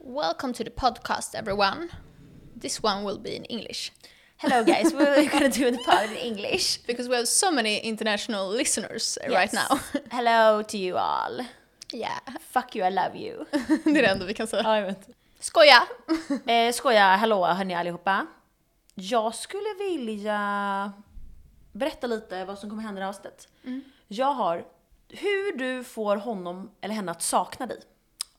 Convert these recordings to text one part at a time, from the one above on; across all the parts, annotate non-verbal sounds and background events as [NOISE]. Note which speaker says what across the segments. Speaker 1: Welcome to the podcast everyone. This one will be in English
Speaker 2: Hello guys, we're gonna do the pod in English.
Speaker 1: because we have so many international listeners eh, right
Speaker 2: Yes.
Speaker 1: now. [LAUGHS]
Speaker 2: Hello to you all.
Speaker 1: Yeah,
Speaker 2: Fuck you, I love you.
Speaker 1: det är det enda vi kan säga.
Speaker 2: Ja, jag vet.
Speaker 1: Skoja!
Speaker 2: Eh, skoja, hallå hörni allihopa. Jag skulle vilja berätta lite vad som kommer hända i det här avsnittet. Jag har hur du får honom eller henne att sakna dig.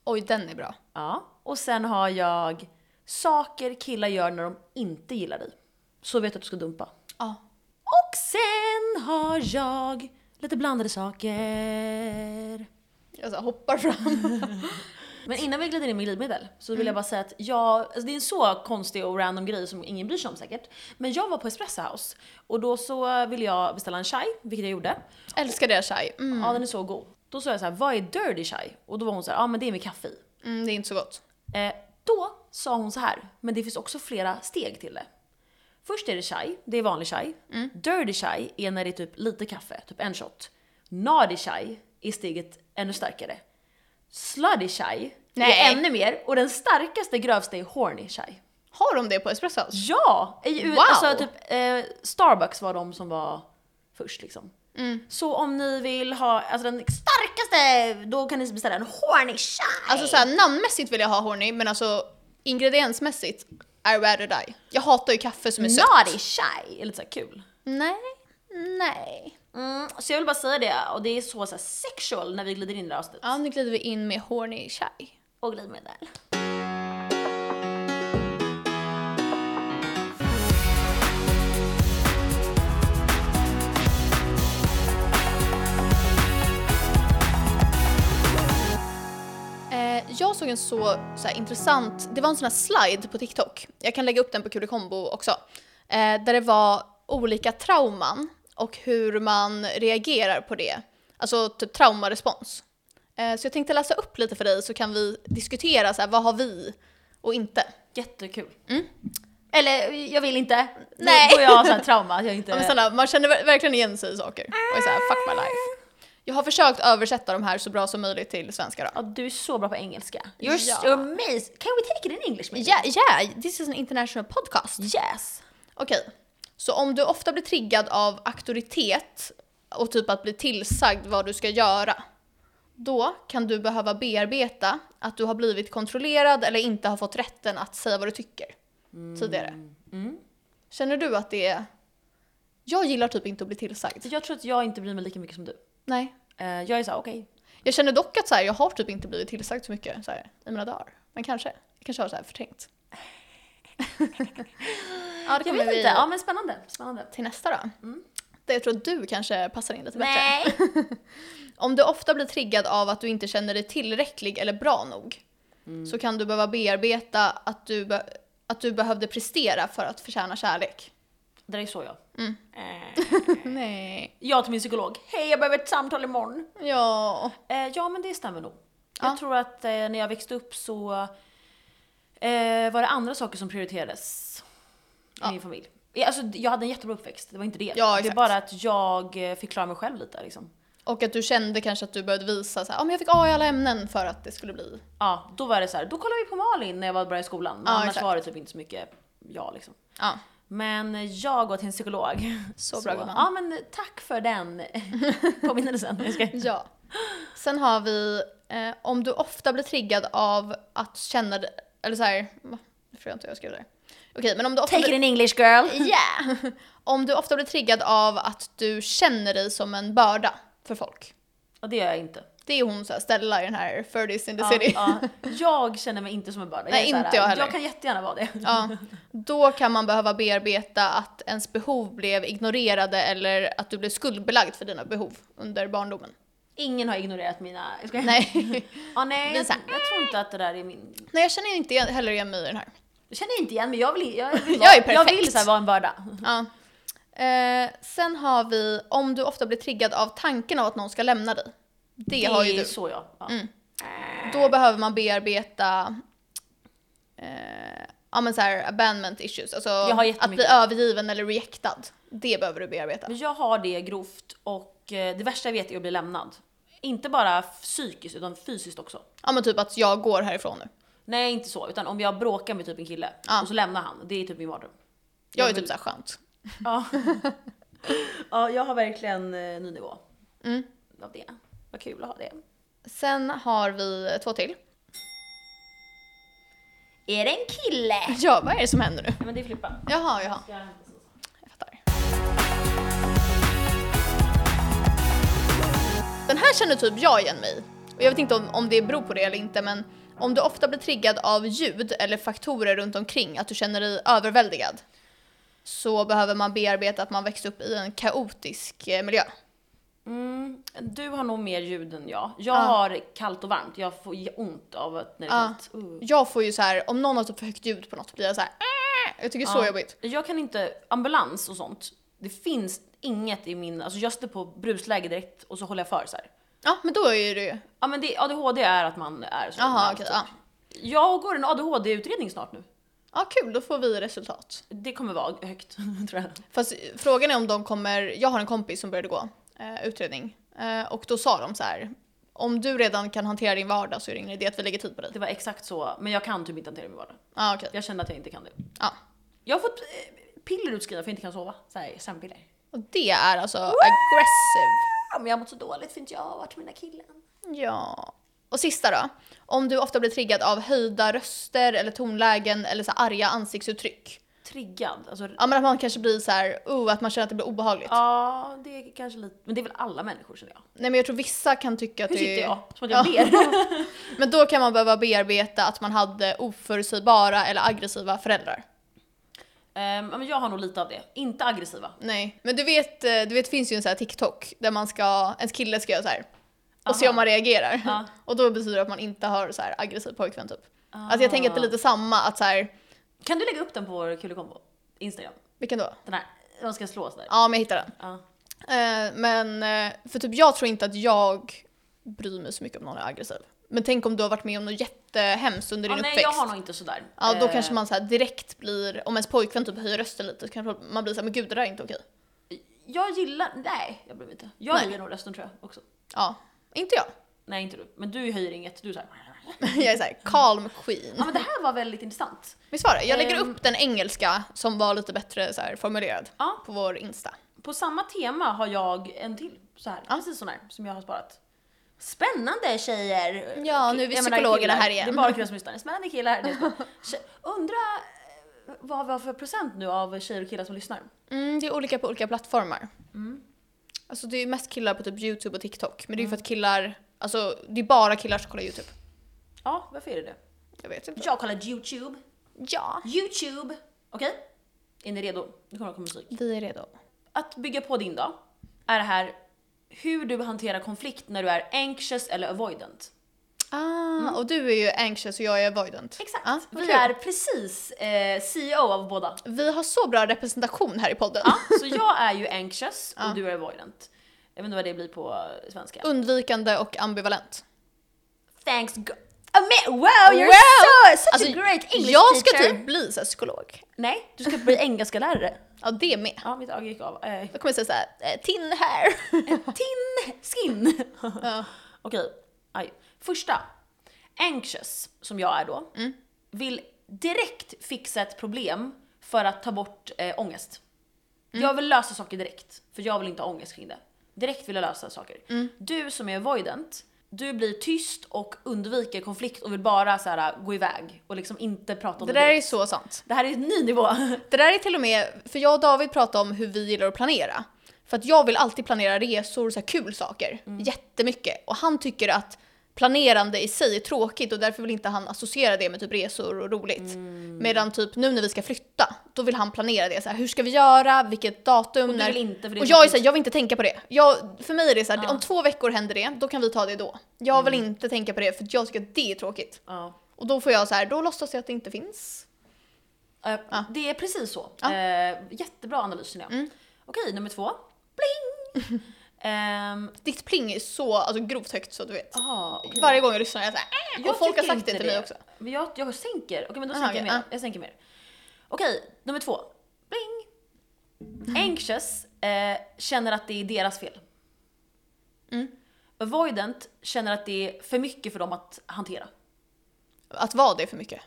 Speaker 1: Oj, den är bra.
Speaker 2: Ja. Och sen har jag saker killar gör när de inte gillar dig. Så vet du att du ska dumpa.
Speaker 1: Ja.
Speaker 2: Och sen har jag lite blandade saker.
Speaker 1: Jag så här hoppar [LAUGHS] fram.
Speaker 2: Men innan vi glider in med glidmedel så vill jag bara säga att jag, alltså det är en så konstig och random grej som ingen bryr sig om säkert. Men jag var på Espresso House och då så ville jag beställa en chai, vilket jag gjorde.
Speaker 1: Älskar det chai. Mm.
Speaker 2: Ja den är så god. Då sa jag så här, vad är dirty chai? Och då var hon så här, ja ah, men det är med kaffe i.
Speaker 1: Mm, det är inte så gott.
Speaker 2: Eh, då sa hon så här, men det finns också flera steg till det. Först är det chai, det är vanlig chai.
Speaker 1: Mm.
Speaker 2: Dirty chai är när det är typ lite kaffe, typ en shot. Naughty chai är steget ännu starkare. Slutty chai
Speaker 1: Nej.
Speaker 2: är ännu mer och den starkaste, grövsta är horny chai.
Speaker 1: Har de det på Espresso House?
Speaker 2: Ja! I,
Speaker 1: Wow.
Speaker 2: wow. Alltså typ eh, Starbucks var de som var först liksom.
Speaker 1: Mm.
Speaker 2: Så om ni vill ha alltså den starkaste, då kan ni beställa en horny chai.
Speaker 1: Alltså så här, namnmässigt vill jag ha horny, men alltså ingrediensmässigt, I rather die. Jag hatar ju kaffe som är sött.
Speaker 2: Naughty chai är lite så här kul.
Speaker 1: Nej, nej.
Speaker 2: Mm, så jag vill bara säga det, och det är så, så här, sexual när vi glider in i det här avsnittet.
Speaker 1: Ja, nu glider vi in med horny chai.
Speaker 2: Och glidmedel.
Speaker 1: Eh, jag såg en så, så här, intressant, det var en sån här slide på TikTok, jag kan lägga upp den på Kulikombo också, eh, där det var olika trauman och hur man reagerar på det. Alltså typ traumarespons. Eh, så jag tänkte läsa upp lite för dig så kan vi diskutera så här, vad har vi och inte.
Speaker 2: Jättekul. Mm. Eller jag vill inte.
Speaker 1: Nej.
Speaker 2: Nu får jag så här trauma att jag inte...
Speaker 1: Ja, men snälla, man känner ver- verkligen igen sig i saker. Och är så här, fuck my life. Jag har försökt översätta de här så bra som möjligt till svenska då.
Speaker 2: ja, du är så bra på engelska. You're
Speaker 1: Ja.
Speaker 2: so amazing. Can we take it in English maybe?
Speaker 1: Yeah, yeah, this is an international podcast.
Speaker 2: Yes.
Speaker 1: Okej, så om du ofta blir triggad av auktoritet och typ att bli tillsagd vad du ska göra, då kan du behöva bearbeta att du har blivit kontrollerad eller inte har fått rätten att säga vad du tycker tidigare.
Speaker 2: Mm.
Speaker 1: Känner du att det är... Jag gillar typ inte att bli tillsagd.
Speaker 2: Så jag tror att jag inte bryr mig lika mycket som du.
Speaker 1: Nej.
Speaker 2: Eh, jag är såhär, okej.
Speaker 1: Jag känner dock att så här, jag har typ inte blivit tillsagd så mycket så här, i mina dagar. Men kanske. Jag kanske har så här
Speaker 2: [LAUGHS]
Speaker 1: förträngt. ja, det
Speaker 2: Jag
Speaker 1: kommer
Speaker 2: vet
Speaker 1: vi
Speaker 2: inte. Ja men spännande. Spännande.
Speaker 1: till nästa då. Där jag tror att du kanske passar in lite bättre.
Speaker 2: Nej.
Speaker 1: Om du ofta blir triggad av att du inte känner dig tillräcklig eller bra nog så kan du behöva bearbeta att du, be- att du behövde prestera för att förtjäna kärlek.
Speaker 2: [LAUGHS] Det där är så jag. Eh,
Speaker 1: [LAUGHS] Nej.
Speaker 2: jag till min psykolog. Hej jag behöver ett samtal imorgon.
Speaker 1: Ja.
Speaker 2: Eh, ja men det stämmer nog.
Speaker 1: Ja.
Speaker 2: Jag tror att eh, när jag växte upp så eh, var det andra saker som prioriterades i
Speaker 1: Ja.
Speaker 2: min familj. Eh, Alltså, jag hade en jättebra uppväxt, det var inte det.
Speaker 1: Ja,
Speaker 2: det
Speaker 1: exakt.
Speaker 2: är bara att jag eh, fick klara mig själv lite. Liksom.
Speaker 1: Och att du kände kanske att du behövde visa så här, "Ja, men jag fick A i alla ämnen för att det skulle bli.
Speaker 2: Ja, då var det så här, då kollar vi på Malin när jag var började i skolan. Men
Speaker 1: Ja,
Speaker 2: annars
Speaker 1: exakt.
Speaker 2: var det typ inte så mycket jag liksom.
Speaker 1: Ja.
Speaker 2: Men jag går till en psykolog.
Speaker 1: [LAUGHS] Så bra, gumman.
Speaker 2: Ja men tack
Speaker 1: [LAUGHS]
Speaker 2: för den påminnelsen. Jag ska-
Speaker 1: Ja. Sen har vi eh, om du ofta blir triggad av att känna dig, eller så här, va? nu förstår jag inte hur jag skrev det. Okej, men om du ofta
Speaker 2: Take it in English girl.
Speaker 1: Yeah! Om du ofta blir triggad av att du känner dig som en börda för folk.
Speaker 2: Och det gör jag inte.
Speaker 1: Det är hon så här, Stella i den här 30s in the
Speaker 2: Ja,
Speaker 1: city. Ja.
Speaker 2: ja. Jag känner mig inte som en börda. är
Speaker 1: Nej,
Speaker 2: så här,
Speaker 1: inte jag heller.
Speaker 2: Jag kan jättegärna vara det.
Speaker 1: Då kan man behöva bearbeta att ens behov blev ignorerade eller att du blev skuldbelagd för dina behov under barndomen.
Speaker 2: Ingen har ignorerat mina... Jag skojar.
Speaker 1: Nej,
Speaker 2: Ja, nej
Speaker 1: Vi är
Speaker 2: jag,
Speaker 1: så här,
Speaker 2: jag tror inte att det där är min...
Speaker 1: Nej jag känner inte igen- heller igen mig i den här.
Speaker 2: Jag känner inte igen men jag vill, jag vill,
Speaker 1: [LAUGHS] Jag är
Speaker 2: jag
Speaker 1: perfekt.
Speaker 2: vill så här, vara en börda.
Speaker 1: Ja. Eh, sen har vi om du ofta blir triggad av tanken av att någon ska lämna dig. Det, har ju
Speaker 2: är
Speaker 1: du.
Speaker 2: så jag. Ja.
Speaker 1: Mm. Då behöver man bearbeta eh, ja, men så här, abandonment issues, alltså
Speaker 2: har
Speaker 1: att bli
Speaker 2: jättemycket.
Speaker 1: övergiven eller rejectad. Det behöver du bearbeta.
Speaker 2: Men jag har det grovt och eh, det värsta jag vet är att bli lämnad. Inte bara psykiskt utan fysiskt också.
Speaker 1: Ja men typ att jag går härifrån nu.
Speaker 2: Nej inte så, utan om jag bråkar med typ en kille
Speaker 1: Ja.
Speaker 2: och så lämnar han, det är typ min mardröm.
Speaker 1: Jag är
Speaker 2: Jag
Speaker 1: typ såhär skönt.
Speaker 2: Ja. [LAUGHS] ja, jag har verkligen eh, ny nivå
Speaker 1: Mm.
Speaker 2: av det. Vad kul att ha det.
Speaker 1: Sen har vi två till.
Speaker 2: Är det en kille?
Speaker 1: Ja, vad är det som händer nu?
Speaker 2: Ja, men det är Filippa.
Speaker 1: Jaha, jaha.
Speaker 2: Ska jag hämta
Speaker 1: Jag fattar. Den här känner typ jag igen mig i. Och jag vet inte om, om det beror på det eller inte men om du ofta blir triggad av ljud eller faktorer runt omkring, att du känner dig överväldigad, så behöver man bearbeta att man växte upp i en kaotisk eh, miljö.
Speaker 2: Mm, du har nog mer ljud än jag. Jag
Speaker 1: Ja.
Speaker 2: har kallt och varmt. Jag får ge ont av att när det är
Speaker 1: Ja.
Speaker 2: kallt. Uh.
Speaker 1: Jag får ju så här, om någon har typ för högt ljud på något blir jag så här. "Äh!" jag tycker det är så
Speaker 2: Ja.
Speaker 1: jobbigt.
Speaker 2: Jag kan inte, ambulans och sånt, det finns inget i min, alltså jag stöter på brusläge direkt och så håller jag för så här.
Speaker 1: Ja men då är det ju,
Speaker 2: Ja men det, ADHD är att man är så.
Speaker 1: jaha
Speaker 2: man-
Speaker 1: okej ja.
Speaker 2: Jag går en ADHD-utredning snart nu.
Speaker 1: Ja kul, då får vi resultat.
Speaker 2: Det kommer vara högt, [LAUGHS] tror jag.
Speaker 1: Fast frågan är om de kommer, jag har en kompis som började gå eh, utredning eh, och då sa de så här. Om du redan kan hantera din vardag så är det ingen idé att vi lägger tid på dig.
Speaker 2: Det var exakt så, men jag kan typ inte hantera min vardag.
Speaker 1: Ja okej.
Speaker 2: Jag känner att jag inte kan det.
Speaker 1: Ja.
Speaker 2: Jag har fått eh, piller utskrivna för jag inte kan sova. Så här, sömnpiller.
Speaker 1: Och det är alltså aggressive.
Speaker 2: Ja, men jag har mått så dåligt för inte jag har varit med mina killar.
Speaker 1: Ja. Och sista då. Om du ofta blir triggad av höjda röster eller tonlägen eller så här arga ansiktsuttryck.
Speaker 2: Triggad, alltså.
Speaker 1: Ja men att man kanske blir så här, oh, att man känner att det blir obehagligt.
Speaker 2: Ja, det är kanske lite, men det är väl alla människor känner jag.
Speaker 1: Nej men jag tror vissa kan tycka att
Speaker 2: Hur
Speaker 1: det
Speaker 2: sitter
Speaker 1: är...
Speaker 2: jag? Som att jag ber.
Speaker 1: [LAUGHS] Men då kan man behöva bearbeta att man hade oförutsägbara eller aggressiva föräldrar.
Speaker 2: Ehm, ja, men jag har nog lite av det. Inte aggressiva.
Speaker 1: Nej, men du vet, eh, du vet det finns ju en sån här TikTok där man ska, ens kille ska göra så här och se
Speaker 2: Aha.
Speaker 1: om man reagerar.
Speaker 2: Ja.
Speaker 1: [LAUGHS] Och då betyder det att man inte har så här aggressiv pojkvän typ. Alltså jag tänker att det är lite
Speaker 2: Ah.
Speaker 1: samma att så här,
Speaker 2: Kan du lägga upp den på vår kulekombo? Instagram.
Speaker 1: vilken då?
Speaker 2: Den här, de ska slås där. Ah.
Speaker 1: Ja, men jag hittar den.
Speaker 2: Ja.
Speaker 1: Eh, Men, eh, för typ jag tror inte att jag bryr mig så mycket om någon är aggressiv. Men tänk om du har varit med om något jättehemskt under
Speaker 2: Ja,
Speaker 1: din
Speaker 2: nej,
Speaker 1: uppväxt.
Speaker 2: jag har nog inte sådär.
Speaker 1: Ja, då
Speaker 2: Ehm,
Speaker 1: kanske man så här direkt blir, om ens pojkvän typ höjer rösten lite, så kanske man blir så här, men gud det där är inte okej.
Speaker 2: Eh, Jag gillar, nej jag bryr mig inte. Jag
Speaker 1: Nej.
Speaker 2: höjer nog rösten tror jag också.
Speaker 1: Ja, inte jag. [LAUGHS]
Speaker 2: Nej inte du, men du höjer inget. Du är såhär.
Speaker 1: Jag är såhär calm queen.
Speaker 2: [LAUGHS] Ja men det här var väldigt intressant.
Speaker 1: Visst var det? Jag lägger
Speaker 2: Ehm.
Speaker 1: upp den engelska som var lite bättre så här, formulerad
Speaker 2: Ja.
Speaker 1: på vår Insta.
Speaker 2: På samma tema har jag en till så här, precis sån här som jag har sparat. Spännande tjejer!
Speaker 1: Ja, nu är vi
Speaker 2: Jag menar,
Speaker 1: psykologerna
Speaker 2: killar.
Speaker 1: här igen.
Speaker 2: Det är bara killar som lyssnar. Spännande killar. Det är
Speaker 1: [LAUGHS]
Speaker 2: så. Tje- Undra eh, vad vi har för procent nu av tjejer och killar som lyssnar.
Speaker 1: Mm, det är olika på olika plattformar.
Speaker 2: Mm.
Speaker 1: Alltså det är mest killar på typ YouTube och TikTok, men det är ju för att killar, alltså det är bara killar som kollar YouTube.
Speaker 2: Ja, varför är det det?
Speaker 1: Jag vet inte.
Speaker 2: Jag kollar YouTube.
Speaker 1: Ja.
Speaker 2: YouTube! Okej? Är ni redo? Nu kommer det komma musik.
Speaker 1: Vi är redo.
Speaker 2: Att bygga på din dag är det här hur du hanterar konflikt när du är anxious eller avoidant.
Speaker 1: Ah, och du är ju anxious och jag är avoidant.
Speaker 2: Exakt.
Speaker 1: Ja, vad
Speaker 2: vi
Speaker 1: kul.
Speaker 2: är precis eh, CEO av båda.
Speaker 1: Vi har så bra representation här i podden.
Speaker 2: Så jag är ju anxious och du är avoidant. Jag vet inte vad det blir på svenska.
Speaker 1: Undvikande och ambivalent.
Speaker 2: Thanks go- Ama- Wow, you're
Speaker 1: Wow!
Speaker 2: so, such
Speaker 1: Alltså,
Speaker 2: a great English
Speaker 1: jag ska
Speaker 2: teacher!
Speaker 1: typ bli så här, psykolog.
Speaker 2: Nej, du ska bli engelska lärare.
Speaker 1: Ja, det med.
Speaker 2: Ja, mitt öga gick av. Eh,
Speaker 1: Jag kommer säga såhär, eh, tin
Speaker 2: [LAUGHS]
Speaker 1: här.
Speaker 2: tin skin!
Speaker 1: Ja.
Speaker 2: Okej, aj. Första. Anxious, som jag är då,
Speaker 1: Mm.
Speaker 2: vill direkt fixa ett problem för att ta bort eh, ångest.
Speaker 1: Mm.
Speaker 2: Jag vill lösa saker direkt, för jag vill inte ha ångest kring det. Direkt vill jag lösa saker.
Speaker 1: Mm.
Speaker 2: Du som är avoidant, du blir tyst och undviker konflikt och vill bara så här, gå iväg och liksom inte prata om
Speaker 1: Det
Speaker 2: det.
Speaker 1: där
Speaker 2: direkt.
Speaker 1: är så sant.
Speaker 2: det här är en ny nivå.
Speaker 1: Det där är till och med, för jag och David pratade om hur vi gillar att planera. För att jag vill alltid planera resor och så här kul saker,
Speaker 2: Mm.
Speaker 1: jättemycket. Och han tycker att planerande i sig är tråkigt och därför vill inte han associera det med typ resor och roligt.
Speaker 2: Mm.
Speaker 1: Medan typ nu när vi ska flytta, då vill han planera det. Så här, hur ska vi göra? Vilket datum?
Speaker 2: du
Speaker 1: när...
Speaker 2: vill inte, för det är
Speaker 1: och
Speaker 2: så
Speaker 1: jag är
Speaker 2: mycket.
Speaker 1: så här, jag vill inte tänka på det. Jag, för mig är det så här, om två veckor händer det, då kan vi ta det då. Jag
Speaker 2: Mm.
Speaker 1: vill inte tänka på det för att jag tycker att det är tråkigt.
Speaker 2: Ja.
Speaker 1: Och då får jag så här, då låtsas jag att det inte finns.
Speaker 2: Eh, Det är precis så.
Speaker 1: Ja. Mm.
Speaker 2: Eh, jättebra analys känner jag. Okej, nummer två. Bling!
Speaker 1: [LAUGHS]
Speaker 2: Ehm,
Speaker 1: Ditt pling är så alltså, grovt högt så du vet.
Speaker 2: aha, okej.
Speaker 1: Varje gång jag lyssnar är jag såhär äh,
Speaker 2: Jag
Speaker 1: och folk har
Speaker 2: tycker
Speaker 1: sagt det
Speaker 2: inte
Speaker 1: till mig också.
Speaker 2: Men jag, jag sänker. Okej, men då
Speaker 1: Aha,
Speaker 2: sänker jag
Speaker 1: okej,
Speaker 2: mer.
Speaker 1: ja.
Speaker 2: Jag sänker mer. Okej, nummer två.
Speaker 1: [LAUGHS]
Speaker 2: Bling! Anxious eh, känner att det är deras fel.
Speaker 1: Mm.
Speaker 2: Avoidant känner att det är för mycket för dem att hantera.
Speaker 1: Att vara det för mycket?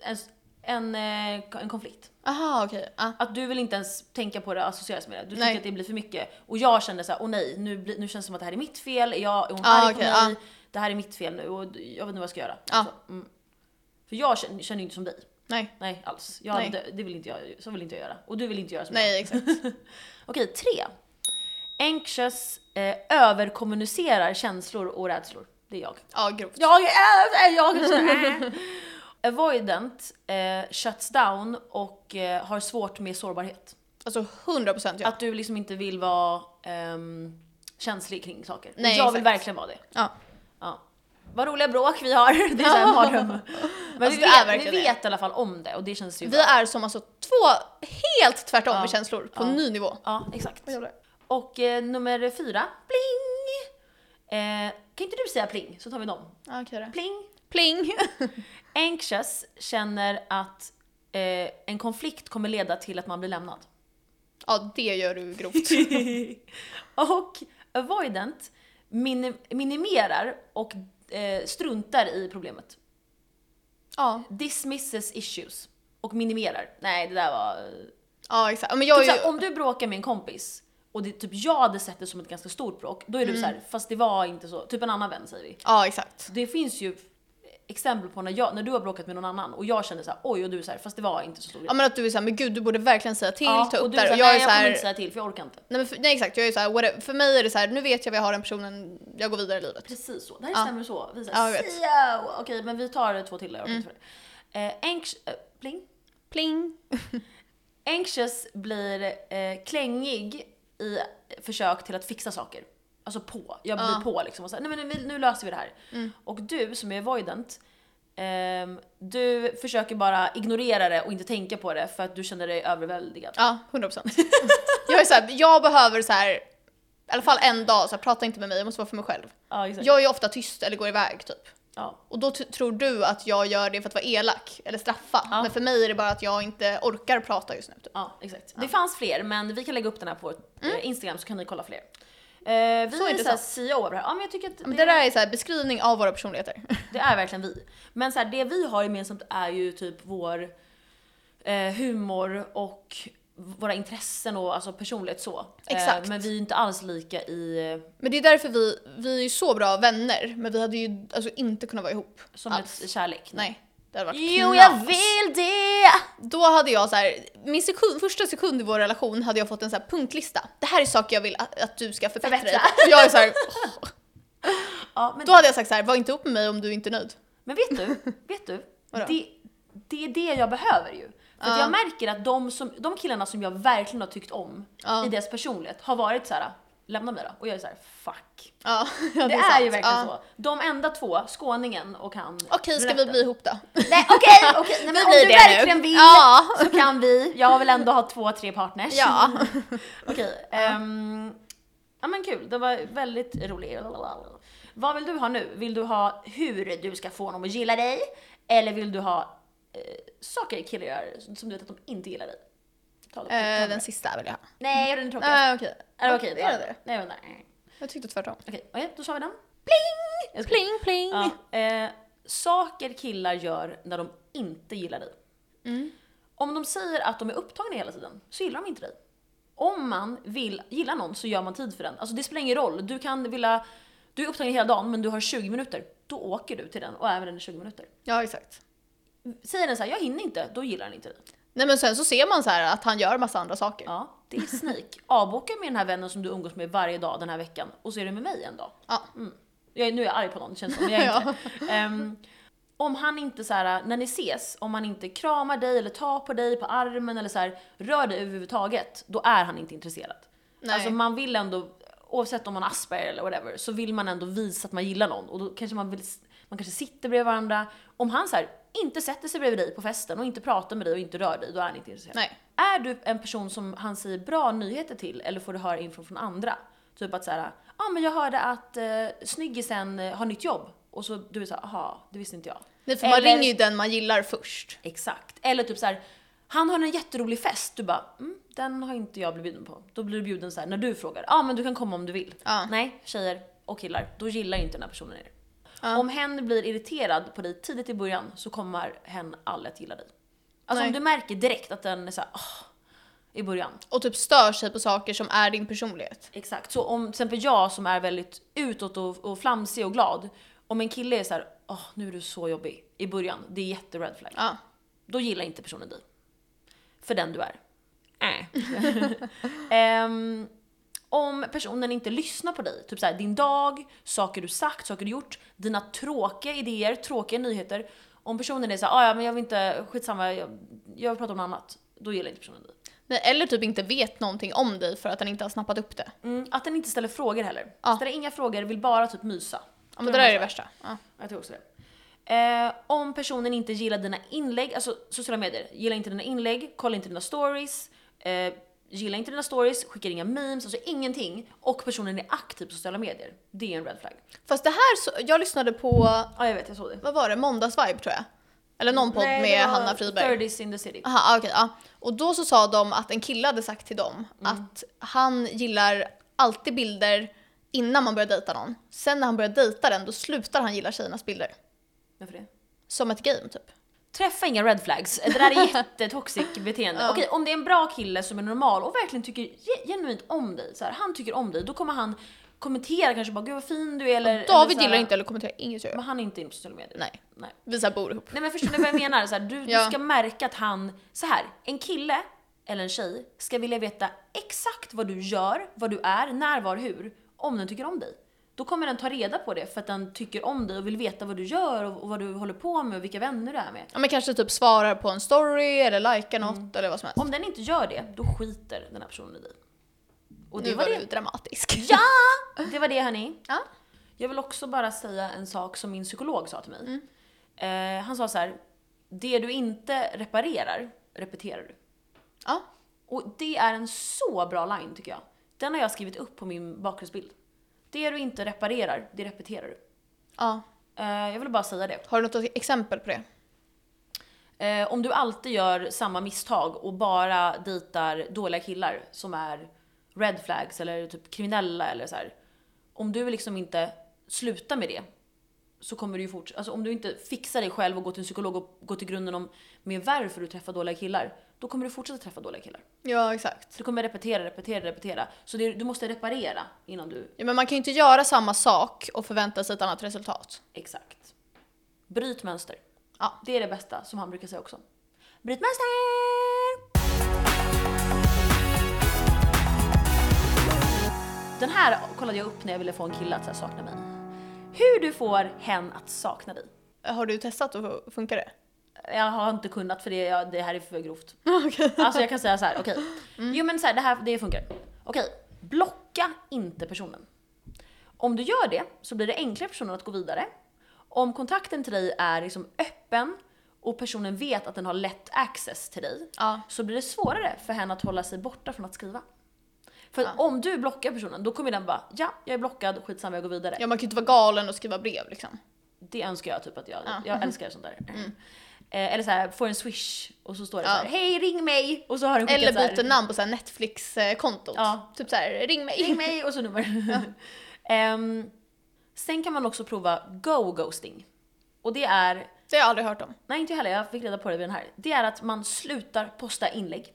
Speaker 2: En, en, eh, en konflikt.
Speaker 1: Aha, okej. Ah.
Speaker 2: Att du vill inte ens tänka på det och associeras med det. Du tycker
Speaker 1: Nej.
Speaker 2: att det blir för mycket. Och jag kände så här, åh nej, nu, blir- nu känns det som att det här är mitt fel. Är Jag, är hon
Speaker 1: Ah,
Speaker 2: arg på
Speaker 1: okej,
Speaker 2: mig? Det här är mitt fel nu och jag vet inte vad jag ska göra.
Speaker 1: Ja.
Speaker 2: Så, mm. För jag känner, känner ju inte som dig.
Speaker 1: Nej.
Speaker 2: Nej, alls. Jag,
Speaker 1: Nej.
Speaker 2: Det, det vill inte jag, så vill inte jag göra. Och du vill inte göra som jag.
Speaker 1: Nej, exakt.
Speaker 2: Okej, tre. Anxious eh, överkommunicerar känslor och rädslor. Det är jag.
Speaker 1: Ja, grovt.
Speaker 2: Jag är jag är
Speaker 1: [LAUGHS]
Speaker 2: så- Avoidant eh, shuts down och eh, har svårt med sårbarhet.
Speaker 1: Alltså 100% ja.
Speaker 2: Att du liksom inte vill vara ehm, känslig kring saker.
Speaker 1: Nej,
Speaker 2: jag vill
Speaker 1: exakt.
Speaker 2: verkligen vara det.
Speaker 1: ja.
Speaker 2: Ja. Vad roliga bråk vi har, [LAUGHS] det är så här en mardröm. Men
Speaker 1: [LAUGHS] Alltså, det
Speaker 2: vi,
Speaker 1: är
Speaker 2: vet, vi
Speaker 1: verkligen
Speaker 2: vet i alla fall om det och det känns ju
Speaker 1: Vi
Speaker 2: bra.
Speaker 1: är som alltså två helt tvärtom
Speaker 2: Ja.
Speaker 1: i känslor på
Speaker 2: Ja.
Speaker 1: ny nivå.
Speaker 2: Ja, exakt.
Speaker 1: Vad gör du?
Speaker 2: Och eh, nummer fyra, pling! Eh, kan inte du säga pling så tar vi dem.
Speaker 1: Ja, okej då.
Speaker 2: Pling!
Speaker 1: Pling! [LAUGHS]
Speaker 2: Anxious känner att eh, en konflikt kommer leda till att man blir lämnad.
Speaker 1: Ja, det gör du grovt.
Speaker 2: [LAUGHS] och avoidant minim- minimerar och eh, struntar i problemet.
Speaker 1: Ja,
Speaker 2: Dismisses issues och minimerar. Nej, det där var...
Speaker 1: ja exakt. Ja, Men jag
Speaker 2: Typ
Speaker 1: är
Speaker 2: såhär,
Speaker 1: ju...
Speaker 2: om du bråkar med en kompis och det, typ jag hade sett det som ett ganska stort bråk, då är
Speaker 1: Mm.
Speaker 2: du så såhär, fast det var inte så. Typ en annan vän säger vi.
Speaker 1: Ja, exakt.
Speaker 2: Det finns ju exempel på när, jag, när du har bråkat med någon annan och jag känner så här, oj och du är så här, fast det var inte så stor grej.
Speaker 1: Ja men att du är såhär, men gud du borde verkligen säga till, ta
Speaker 2: och
Speaker 1: upp
Speaker 2: du
Speaker 1: det här.
Speaker 2: så
Speaker 1: Och
Speaker 2: här,
Speaker 1: jag är
Speaker 2: nej jag kommer
Speaker 1: såhär,
Speaker 2: inte säga till för jag orkar inte.
Speaker 1: nej, men för, nej exakt, jag är såhär, whatever. för mig är det så här, nu vet jag vad jag har den personen, jag går vidare i livet.
Speaker 2: Precis så, det här
Speaker 1: Ja.
Speaker 2: stämmer så. Vi
Speaker 1: Ja, jag
Speaker 2: säger
Speaker 1: vet. Mm.
Speaker 2: ja, okej men vi tar två till, jag orkar inte för det. Eh, anx- eh, bling.
Speaker 1: Pling!
Speaker 2: Anxious blir eh, klängig i försök till att fixa saker. Alltså på, jag blir
Speaker 1: Ja. Mm.
Speaker 2: på liksom och så här, nej men nu, nu löser vi det här. Och du som är avoidant, ehm, du försöker bara ignorera det och inte tänka på det för att du känner dig överväldigad.
Speaker 1: Ja, 100%. [LAUGHS] jag är såhär, jag behöver såhär, i alla fall en dag, så här, prata inte med mig, jag måste vara för mig själv.
Speaker 2: Ja, exakt.
Speaker 1: Jag är ju ofta tyst eller går iväg typ.
Speaker 2: Ja.
Speaker 1: Och då t- tror du att jag gör det för att vara elak eller straffa.
Speaker 2: Ja.
Speaker 1: Men för mig är det bara att jag inte orkar prata just nu. Typ.
Speaker 2: Ja, exakt. Det fanns fler, men vi kan lägga upp den här på eh, Instagram så kan ni kolla fler. Eh, vi
Speaker 1: Mm. Så
Speaker 2: är såhär
Speaker 1: intressant.
Speaker 2: CEO över det här. Ja, men jag tycker att
Speaker 1: Men
Speaker 2: det,
Speaker 1: det där är så här, beskrivning av våra personligheter. [LAUGHS]
Speaker 2: det är verkligen vi. Men så här, det vi har gemensamt är ju typ vår eh, humor och våra intressen och alltså personlighet så.
Speaker 1: Exakt.
Speaker 2: men vi är ju inte alls lika i, eh,
Speaker 1: Men det är därför vi, vi är ju så bra vänner, men vi hade ju alltså inte kunnat vara ihop.
Speaker 2: som
Speaker 1: alls.
Speaker 2: ett kärlek.
Speaker 1: Nej, det hade varit
Speaker 2: Jo,
Speaker 1: knas.
Speaker 2: jag vill det!
Speaker 1: Då hade jag så här, min sekund, första sekund i vår relation hade jag fått en så här punktlista. Det här är saker jag vill att, att du ska förbättra, dig.
Speaker 2: Förbättra.
Speaker 1: Och jag är så här,
Speaker 2: Ja, men,
Speaker 1: då hade jag sagt så här, var inte ihop med mig om du inte är nöjd.
Speaker 2: men vet
Speaker 1: [LAUGHS]
Speaker 2: du? Vet du?
Speaker 1: Vadå?
Speaker 2: det, det är det jag behöver ju. För att
Speaker 1: Ja.
Speaker 2: jag märker att de, som, de killarna som jag verkligen har tyckt om
Speaker 1: Ja.
Speaker 2: i deras personlighet har varit så här: lämna mig då. Och jag är så här: fuck.
Speaker 1: Ja,
Speaker 2: Det, är,
Speaker 1: sant.
Speaker 2: ju verkligen
Speaker 1: Ja.
Speaker 2: så. De enda två, skåningen och han.
Speaker 1: Okej, ska vi bli ihop då?
Speaker 2: Nej okej, okej. Nej, men
Speaker 1: Vi
Speaker 2: om
Speaker 1: blir
Speaker 2: du
Speaker 1: det nu.
Speaker 2: verkligen vill [LAUGHS]
Speaker 1: Ja.
Speaker 2: så kan vi. Jag vill ändå ha två, tre partners.
Speaker 1: Ja.
Speaker 2: Okej. ehm, ja men kul, det var väldigt roligt. Vad vill du ha nu? Vill du ha hur du ska få någon att gilla dig? Eller vill du ha eh, saker killar gör som du vet att de inte gillar dig? Ta det. Ta
Speaker 1: Eh,
Speaker 2: det.
Speaker 1: den sista vill jag ha.
Speaker 2: Nej, den är tråkig.
Speaker 1: Nej, okej.
Speaker 2: Eller okej, ta
Speaker 1: är
Speaker 2: den.
Speaker 1: det?
Speaker 2: Nej, jag vet inte.
Speaker 1: Jag tyckte tvärtom.
Speaker 2: Okej, okej, då kör vi den. Jag ska-
Speaker 1: Pling pling!
Speaker 2: Ja, eh, saker killar gör när de inte gillar dig. Om de säger att de är upptagna hela tiden så gillar de inte dig. Om man vill gilla någon så gör man tid för den. Alltså det spelar ingen roll. Du kan vilja... Du är upptagen hela dagen men du har 20 minuter. Då åker du till den och är med den i 20 minuter.
Speaker 1: Ja, exakt.
Speaker 2: Säger den så här, jag hinner inte, då gillar den inte dig.
Speaker 1: Nej men sen så ser man så här att han gör massa andra saker. Ja.
Speaker 2: Ja, det är sneak. Avboka med den här vännen som du umgås med varje dag den här veckan och så är du med mig en dag. Jag, är- nu är jag arg på någon känns det som, men jag
Speaker 1: [LAUGHS]
Speaker 2: är inte det. Ehm, Om han inte så här, när ni ses, om han inte kramar dig eller tar på dig på armen eller så här, rör dig överhuvudtaget, då är han inte intresserad.
Speaker 1: Nej.
Speaker 2: Alltså man vill ändå, oavsett om man har Asperger eller whatever, så vill man ändå visa att man gillar någon och då kanske man vill, man kanske sitter bredvid varandra. Om han så här, inte sätter sig bredvid dig på festen och inte pratar med dig och inte rör dig, då är han inte intresserad.
Speaker 1: Nej.
Speaker 2: Är du en person som han säger bra nyheter till eller får du höra info från andra? Typ att såhär, ja ah, men jag hörde att eh, snyggisen eh, har nytt jobb. Och så du är såhär, aha, det visste inte jag.
Speaker 1: Nej för man
Speaker 2: Eller-
Speaker 1: ringer ju den man gillar först.
Speaker 2: Exakt. Eller typ såhär, han har en jätterolig fest. Du bara, mm, den har inte jag blivit bjuden på. Då blir du bjuden såhär när du frågar, ja ah, men du kan komma om du vill.
Speaker 1: Ja.
Speaker 2: Nej, tjejer och killar, då gillar inte den här personen er. Om hen blir irriterad på dig tidigt i början så kommer hen aldrig att gilla dig. Alltså
Speaker 1: Nej.
Speaker 2: om du märker direkt att den är såhär "Åh", i början.
Speaker 1: Och typ stör sig på saker som är din personlighet.
Speaker 2: Exakt. Så om till exempel jag som är väldigt utåt och, och flamsig och glad. Om en kille är så här, åh nu är du så jobbig i början, det är jätte red flag.
Speaker 1: Ja.
Speaker 2: Då gillar inte personen dig. För den du är. Äh. [LAUGHS] Ehm, om personen inte lyssnar på dig, typ så här, din dag, saker du sagt, saker du gjort, dina tråkiga idéer, tråkiga nyheter. Om personen är såhär, ah, ja men jag vill inte, skitsamma, jag, jag vill prata om något annat. Då gillar inte personen dig.
Speaker 1: Nej, eller typ inte vet någonting om dig för att den inte har snappat upp det.
Speaker 2: Mm, att den inte ställer frågor heller.
Speaker 1: Ja.
Speaker 2: Ställer inga frågor, vill bara typ mysa.
Speaker 1: Ja men det där är det värsta. Ja.
Speaker 2: Jag tror också det. Eh, om personen inte gillar dina inlägg, alltså sociala medier, gillar inte dina inlägg, kollar inte dina stories, eh, gillar inte dina stories, skickar inga memes, alltså ingenting. Och personen är aktiv på sociala medier. Det är en red flag.
Speaker 1: Fast det här, så, jag lyssnade på,
Speaker 2: Ja, jag vet, jag såg det.
Speaker 1: vad var det, måndagsvibe tror jag. Eller någon podd
Speaker 2: Nej, det
Speaker 1: med
Speaker 2: var
Speaker 1: Hanna Friberg.
Speaker 2: 30s in the city.
Speaker 1: Aha, ah, okej, ja. Och då så sa de att en kille hade sagt till dem
Speaker 2: Mm.
Speaker 1: att han gillar alltid bilder innan man börjar dejta någon. Sen när han börjar dejta den då slutar han gilla tjejernas bilder.
Speaker 2: Varför det?
Speaker 1: Som ett game typ.
Speaker 2: Träffa inga red flags. Det där
Speaker 1: [LAUGHS]
Speaker 2: är jättetoxic beteende. Okej, om det är en bra kille som är normal och verkligen tycker ge- genuint om dig, så här, han tycker om dig, då kommer han kommentera kanske bara “Gud vad fin du är” eller... eller
Speaker 1: David
Speaker 2: så här,
Speaker 1: gillar inte eller kommenterar inget jag gör.
Speaker 2: Men han är inte inne på sociala medier.
Speaker 1: Nej.
Speaker 2: Nej.
Speaker 1: Vi så här bor ihop.
Speaker 2: Nej men förstår ni vad jag menar? Så här, du,
Speaker 1: Ja.
Speaker 2: du ska märka att han, så här, en kille eller en tjej ska vilja veta exakt vad du gör, vad du är, när, var, hur, om den tycker om dig. Då kommer den ta reda på det för att den tycker om dig och vill veta vad du gör och, och vad du håller på med och vilka vänner du är med.
Speaker 1: Ja men kanske typ svarar på en story eller likar något
Speaker 2: Mm.
Speaker 1: eller vad som helst.
Speaker 2: Om den inte gör det, då skiter den här personen i dig. Och det
Speaker 1: nu
Speaker 2: var
Speaker 1: var
Speaker 2: det.
Speaker 1: du dramatisk. [LAUGHS]
Speaker 2: Ja! Det var det hörni.
Speaker 1: Ja.
Speaker 2: Jag vill också bara säga en sak som min psykolog sa till mig.
Speaker 1: Mm.
Speaker 2: Eh, han sa så här, det du inte reparerar, repeterar du.
Speaker 1: ja.
Speaker 2: Och det är en så bra line tycker jag. Den har jag skrivit upp på min bakgrundsbild. Det du inte reparerar, det repeterar du.
Speaker 1: Ja.
Speaker 2: Eh, jag vill bara säga det.
Speaker 1: Har du något exempel på det?
Speaker 2: Eh, om du alltid gör samma misstag och bara dejtar dåliga killar som är red flags eller typ kriminella eller så här. Om du liksom inte slutar med det så kommer du ju fortsätta. Alltså om du inte fixar dig själv och går till en psykolog och går till grunden om med varför du träffar dåliga killar, då kommer du fortsätta träffa dåliga killar.
Speaker 1: Ja exakt.
Speaker 2: Så du kommer repetera, repetera, repetera. Så det, du måste reparera innan du...
Speaker 1: Ja, men man kan ju inte göra samma sak och förvänta sig ett annat resultat.
Speaker 2: Exakt. Bryt mönster.
Speaker 1: Ja.
Speaker 2: Det är det bästa som han brukar säga också. Bryt mönster! Den här kollade jag upp när jag ville få en kille att så här sakna mig. Hur du får hen att sakna dig.
Speaker 1: Har du testat och funkar det?
Speaker 2: Jag har inte kunnat för det, jag, det här är för grovt. Alltså jag kan säga så här, okej. Jo men så här, det här det funkar. Okej, blocka inte personen. Om du gör det så blir det enklare för personen att gå vidare. Om kontakten till dig är liksom öppen och personen vet att den har lätt access till dig
Speaker 1: Ja.
Speaker 2: så blir det svårare för henne att hålla sig borta från att skriva. För att om du blockar personen då kommer den bara ja, jag är blockad, skitsamma jag går vidare.
Speaker 1: Ja, man kan ju inte vara galen och skriva brev liksom.
Speaker 2: Det önskar jag typ att jag, jag älskar sånt där. Eh, eller så här, får en swish och så står det så här,
Speaker 1: Mm. Ja.
Speaker 2: hej ring mig! Och så har den skickat
Speaker 1: Eller
Speaker 2: så här,
Speaker 1: byter namn på så här Netflix-kontot.
Speaker 2: Ja.
Speaker 1: Typ så här, ring mig.
Speaker 2: ring mig och så nummer. [LAUGHS] Ehm, sen kan man också prova go-ghosting. Och det är,
Speaker 1: Det har jag aldrig hört om.
Speaker 2: nej inte jag heller, jag fick reda på det vid den här. Det är att man slutar posta inlägg.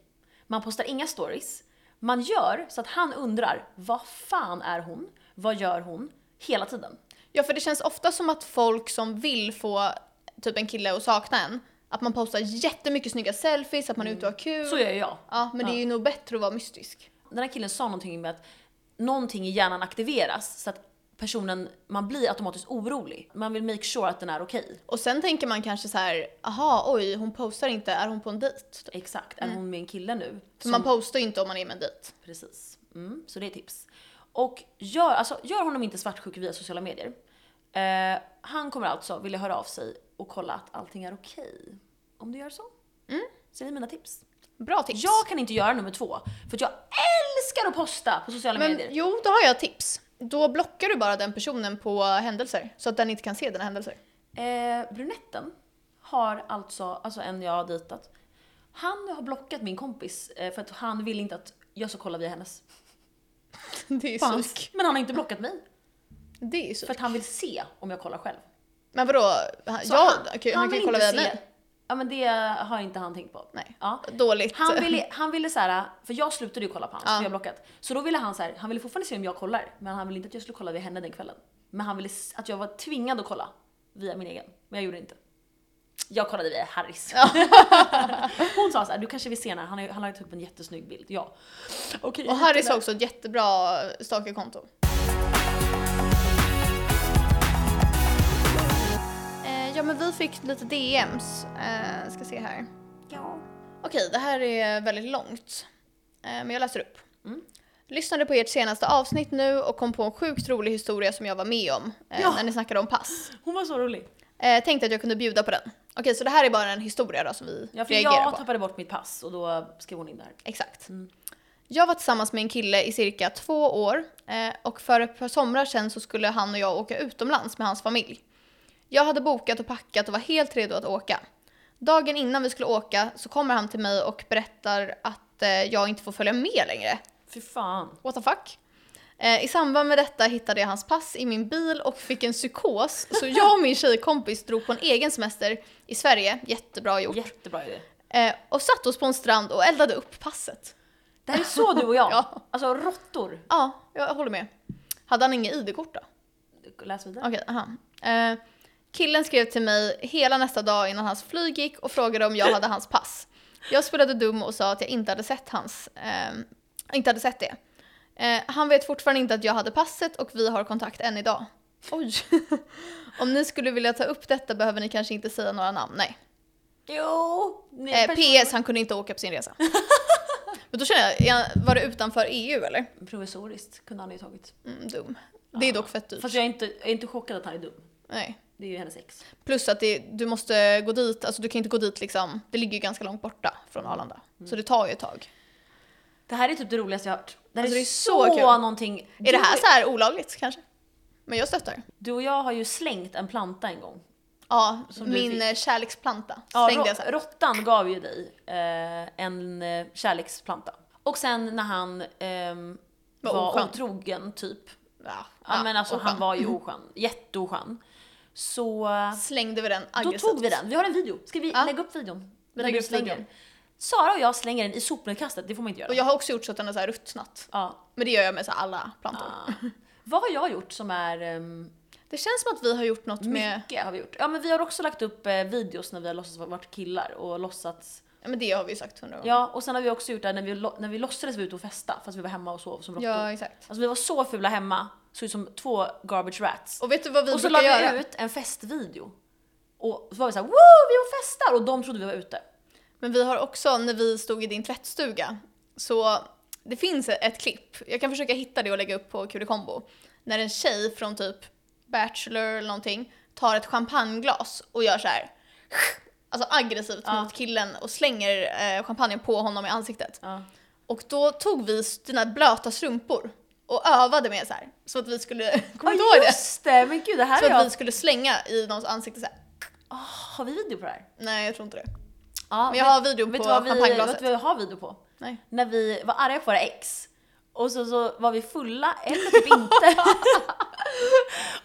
Speaker 2: Man postar inga stories. Man gör så att han undrar, vad fan är hon? Vad gör hon? Hela tiden.
Speaker 1: Ja, för det känns ofta som att folk som vill få typ en kille att sakna en, att man postar jättemycket snygga selfies, att man är ute och har kul.
Speaker 2: Så gör ju jag.
Speaker 1: Mm. Ja, men det är ju nog bättre att vara mystisk.
Speaker 2: den här killen sa någonting med att någonting i hjärnan aktiveras så att personen, man blir automatiskt orolig. Man vill make sure att den är okej.
Speaker 1: Och sen tänker man kanske så här, aha, oj, hon postar inte, är hon på en dejt? För
Speaker 2: Exakt, är hon med en kille nu? Som,
Speaker 1: Mm. man postar ju inte om man är med en dejt.
Speaker 2: Precis. Mm, så det är tips. Och gör, alltså, gör honom inte svartsjuk via sociala medier. Eh, han kommer alltså vilja höra av sig och kolla att allting är okej. Om du gör så.
Speaker 1: Mm.
Speaker 2: Så det är mina tips.
Speaker 1: Bra tips.
Speaker 2: Jag kan inte göra nummer två, för att jag älskar att posta på sociala
Speaker 1: Men
Speaker 2: medier.
Speaker 1: Eh, jo, då har jag ett tips. Då blockar du bara den personen på händelser så att den inte kan se dina händelser. [LAUGHS]
Speaker 2: Eh, brunetten har alltså, alltså en jag har dejtat. Han har blockat min kompis eh, för att han vill inte att jag ska kolla via hennes.
Speaker 1: Det är
Speaker 2: Fansk. Men han har inte blockat mig
Speaker 1: Det är ju så.
Speaker 2: för att han vill se om jag kollar själv.
Speaker 1: Men vadå? Han, jag, han, han,
Speaker 2: vill
Speaker 1: kan ju kolla
Speaker 2: inte
Speaker 1: via mig.
Speaker 2: se- Ja men det har inte han tänkt på.
Speaker 1: Nej.
Speaker 2: Ja.
Speaker 1: Dåligt.
Speaker 2: Han ville, han ville så här, för jag slutade ju kolla på honom,
Speaker 1: Typ. Ja.
Speaker 2: för jag har blockat. Så då ville han så här, han ville fortfarande se om jag kollar, men han ville inte att jag skulle kolla via henne den kvällen. Men han ville s- att jag var tvingad att kolla via min egen, men jag gjorde inte. Jag kollade via Harrys. [LAUGHS] Hon sa så här, du kanske vill se när han, har- han har ju typ en jättesnygg bild. Ja.
Speaker 1: [LAUGHS]
Speaker 2: Okej.
Speaker 1: Och Harrys har också ett jättebra stalkerkonto. Eh, Ja men vi fick lite DMs. Eh, ska se här.
Speaker 2: Ja.
Speaker 1: Okej, det här är väldigt långt. Eh, Men jag läser upp.
Speaker 2: Mm.
Speaker 1: Lyssnade på ert senaste avsnitt nu och kom på en sjukt rolig historia som jag var med om eh,
Speaker 2: Ja.
Speaker 1: när ni snackade om pass.
Speaker 2: Hon var så rolig.
Speaker 1: Eh, tänkte att jag kunde bjuda på den. Okej, så det här är bara en historia då som vi
Speaker 2: Ja, för
Speaker 1: reagerar
Speaker 2: jag
Speaker 1: på.
Speaker 2: tappade bort mitt pass och då skrev hon in det här.
Speaker 1: Exakt. Jag var tillsammans med en kille i cirka två år eh, och för ett par somrar sedan så skulle han och jag åka utomlands med hans familj. Jag hade bokat och packat och var helt redo att åka. Dagen innan vi skulle åka så kommer han till mig och berättar att eh, jag inte får följa med längre.
Speaker 2: Fy fan.
Speaker 1: What the fuck? Eh, I samband med detta hittade jag hans pass i min bil och fick en psykos så jag och min tjejkompis drog på en egen semester i Sverige, jättebra gjort,
Speaker 2: Jättebra idé.
Speaker 1: eh, och satte oss på en strand och eldade upp passet.
Speaker 2: Det här är så du och
Speaker 1: [LAUGHS]
Speaker 2: jag.
Speaker 1: Ja.
Speaker 2: Alltså råttor.
Speaker 1: Ja, jag håller med. Hade han inget ID-kort då?
Speaker 2: Läs vidare.
Speaker 1: Okej, aha. Eh, killen skrev till mig hela nästa dag innan hans flyg gick och frågade om jag hade hans pass. Jag spelade dum och sa att jag inte hade sett hans, ehm, inte hade sett det. Eh, han vet fortfarande inte att jag hade passet och vi har kontakt än idag. Oj! [LAUGHS] om ni skulle vilja ta upp detta behöver ni kanske inte säga några namn, nej.
Speaker 2: Jo! ni är
Speaker 1: Eh,
Speaker 2: personer-
Speaker 1: PS, han kunde inte åka på sin resa. Men då känner jag, är han- var det utanför EU eller?
Speaker 2: Provisoriskt kunde han ju tagit.
Speaker 1: Mm, dum. Det är dock fett dyrt.
Speaker 2: Fast jag är, inte, jag är inte chockad att han är dum.
Speaker 1: Nej.
Speaker 2: Det är ju hennes ex.
Speaker 1: Plus att det, du måste gå dit, alltså du kan inte gå dit liksom, det ligger ju ganska långt borta från Arlanda.
Speaker 2: Mm.
Speaker 1: Så det tar ju ett tag.
Speaker 2: Det här är typ det roligaste jag har hört. Det här
Speaker 1: Alltså,
Speaker 2: är,
Speaker 1: det är
Speaker 2: så,
Speaker 1: så kul.
Speaker 2: någonting.
Speaker 1: Är det här så här olagligt kanske? Men jag stöttar.
Speaker 2: Du och jag har ju slängt en planta en gång.
Speaker 1: Ja,
Speaker 2: Som du
Speaker 1: min
Speaker 2: fick.
Speaker 1: eh, kärleksplanta
Speaker 2: Ja,
Speaker 1: slängde jag
Speaker 2: rå-
Speaker 1: sen.
Speaker 2: råttan gav ju dig eh, en eh, kärleksplanta. Och sen när han ehm,
Speaker 1: Var
Speaker 2: var,
Speaker 1: oskön.
Speaker 2: otrogen typ.
Speaker 1: Ja,
Speaker 2: Ja, men alltså
Speaker 1: oskön.
Speaker 2: han var ju oskön. Jätteoskön. Så
Speaker 1: Slängde vi den
Speaker 2: då
Speaker 1: aggressivt.
Speaker 2: tog vi den. Vi har en video. Ska vi
Speaker 1: Ja.
Speaker 2: lägga upp videon? När
Speaker 1: Lägg
Speaker 2: du
Speaker 1: upp
Speaker 2: slänger
Speaker 1: videon.
Speaker 2: den. Sara och jag slänger den i sopnedkastet, det får man inte göra.
Speaker 1: Och jag har också gjort så att den har så här ruttnat.
Speaker 2: Ja.
Speaker 1: Men det gör jag med så här alla plantor.
Speaker 2: Ah. Vad har jag gjort som är... ehm,
Speaker 1: Det känns som att vi har gjort något
Speaker 2: Mm.
Speaker 1: med,
Speaker 2: mycket har vi gjort. Ja men vi har också lagt upp eh, videos när vi har låtsats varit killar och låtsats...
Speaker 1: ja men det har vi ju sagt hundra gånger.
Speaker 2: Ja och sen har vi också gjort det här när vi, lo- när vi låtsades vara ute och festa fast vi var hemma och sov som råttor.
Speaker 1: ja exakt.
Speaker 2: Alltså vi var så fula hemma, såg ut som två garbage rats.
Speaker 1: Och vet du vad vi
Speaker 2: Och så la
Speaker 1: brukar
Speaker 2: vi
Speaker 1: göra?
Speaker 2: ut en festvideo. Och så var vi såhär wow vi är och festar! Och de trodde vi var ute.
Speaker 1: Men vi har också, när vi stod i din tvättstuga, så det finns ett klipp, jag kan försöka hitta det och lägga upp på Kulikombo, när en tjej från typ Bachelor eller någonting tar ett champagneglas och gör så här. [LAUGHS] Alltså aggressivt mot killen och slänger eh, champagnen på honom i ansiktet.
Speaker 2: Ja.
Speaker 1: Och då tog vi dina blöta strumpor och övade med så här. Så att vi skulle, [LAUGHS] kommer du ihåg det?
Speaker 2: just det! Men gud det här
Speaker 1: Så
Speaker 2: är
Speaker 1: att
Speaker 2: jag...
Speaker 1: vi skulle slänga i någons ansikte så här.
Speaker 2: Har vi video på det här?
Speaker 1: Nej jag tror inte det.
Speaker 2: Ja,
Speaker 1: Men jag har video
Speaker 2: vet
Speaker 1: på
Speaker 2: du vad vi,
Speaker 1: champagneglaset.
Speaker 2: Vet du vad jag har video på?
Speaker 1: Nej.
Speaker 2: När vi var arga på våra ex. Och så, så var vi fulla, eller typ inte.
Speaker 1: [LAUGHS]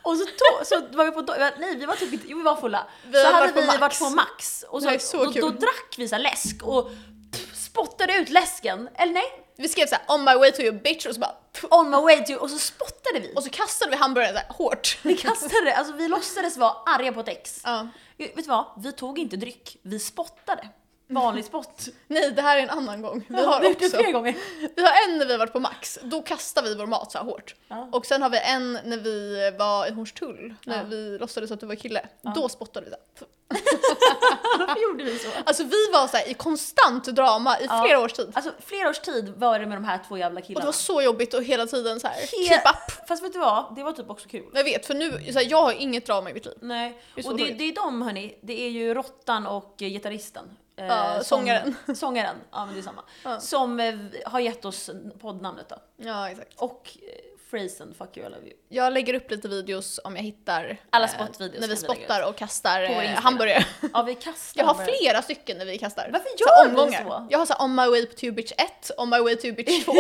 Speaker 2: och så, to- så var vi på do- nej vi var typ inte, jo vi var fulla.
Speaker 1: Vi
Speaker 2: så
Speaker 1: hade
Speaker 2: hade
Speaker 1: varit på
Speaker 2: vi
Speaker 1: Max.
Speaker 2: varit på Max. Och så,
Speaker 1: Det här är så
Speaker 2: då,
Speaker 1: kul.
Speaker 2: då drack vi så här läsk och pff, spottade ut läsken. Eller nej,
Speaker 1: Vi skrev så här on my way to you bitch och så bara
Speaker 2: on my way to och så spottade vi.
Speaker 1: Och så kastade vi hamburgaren så här hårt.
Speaker 2: Vi kastade, alltså vi låtsades vara arga på ett ex.
Speaker 1: [LAUGHS] Ja.
Speaker 2: Vet du vad? Vi tog inte dryck, vi spottade. Vanlig spott.
Speaker 1: Nej, det här är en annan gång. Vi
Speaker 2: Ja,
Speaker 1: har
Speaker 2: gjort det
Speaker 1: också. [LAUGHS]
Speaker 2: flera gånger.
Speaker 1: Vi har en när vi var på Max, då kastar vi vår mat så här hårt.
Speaker 2: Ja.
Speaker 1: Och sen har vi en när vi var i Hornstull, när
Speaker 2: Ja.
Speaker 1: vi låtsades att du var kille. Då spottade vi. Så här.
Speaker 2: Varför gjorde vi så?
Speaker 1: Alltså vi var så här i konstant drama i flera års tid.
Speaker 2: Alltså flera års tid var det med de här två jävla
Speaker 1: Och det
Speaker 2: killarna.
Speaker 1: var så jobbigt och hela tiden så här
Speaker 2: He-
Speaker 1: keep up.
Speaker 2: Fast vet du vad? Det var typ också kul.
Speaker 1: Jag vet, för nu, så här, jag har inget drama i mitt liv.
Speaker 2: Nej.
Speaker 1: Det är så
Speaker 2: och det,
Speaker 1: roligt.
Speaker 2: det är de hörni, det är ju Rottan och eh, gitarristen. Eh,
Speaker 1: Ja,
Speaker 2: som-
Speaker 1: sångaren.
Speaker 2: [LAUGHS] Sångaren, ja men det är samma.
Speaker 1: Ja.
Speaker 2: Som eh, har gett oss poddnamnet då.
Speaker 1: Ja, exakt.
Speaker 2: Och eh, phrasen 'fuck you I love you'
Speaker 1: Jag lägger upp lite videos om jag hittar.
Speaker 2: Alla
Speaker 1: eh,
Speaker 2: spottvideos
Speaker 1: När vi
Speaker 2: kan vi lägga
Speaker 1: spottar och kastar
Speaker 2: På vår
Speaker 1: eh,
Speaker 2: Instagram.
Speaker 1: hamburgare.
Speaker 2: Ja vi kastar
Speaker 1: Jag har
Speaker 2: bara-
Speaker 1: flera stycken när vi kastar.
Speaker 2: Varför
Speaker 1: Så här
Speaker 2: gör vi så?
Speaker 1: Jag har såhär on my way to you bitch
Speaker 2: [LAUGHS]
Speaker 1: 1, on my way to you bitch 2.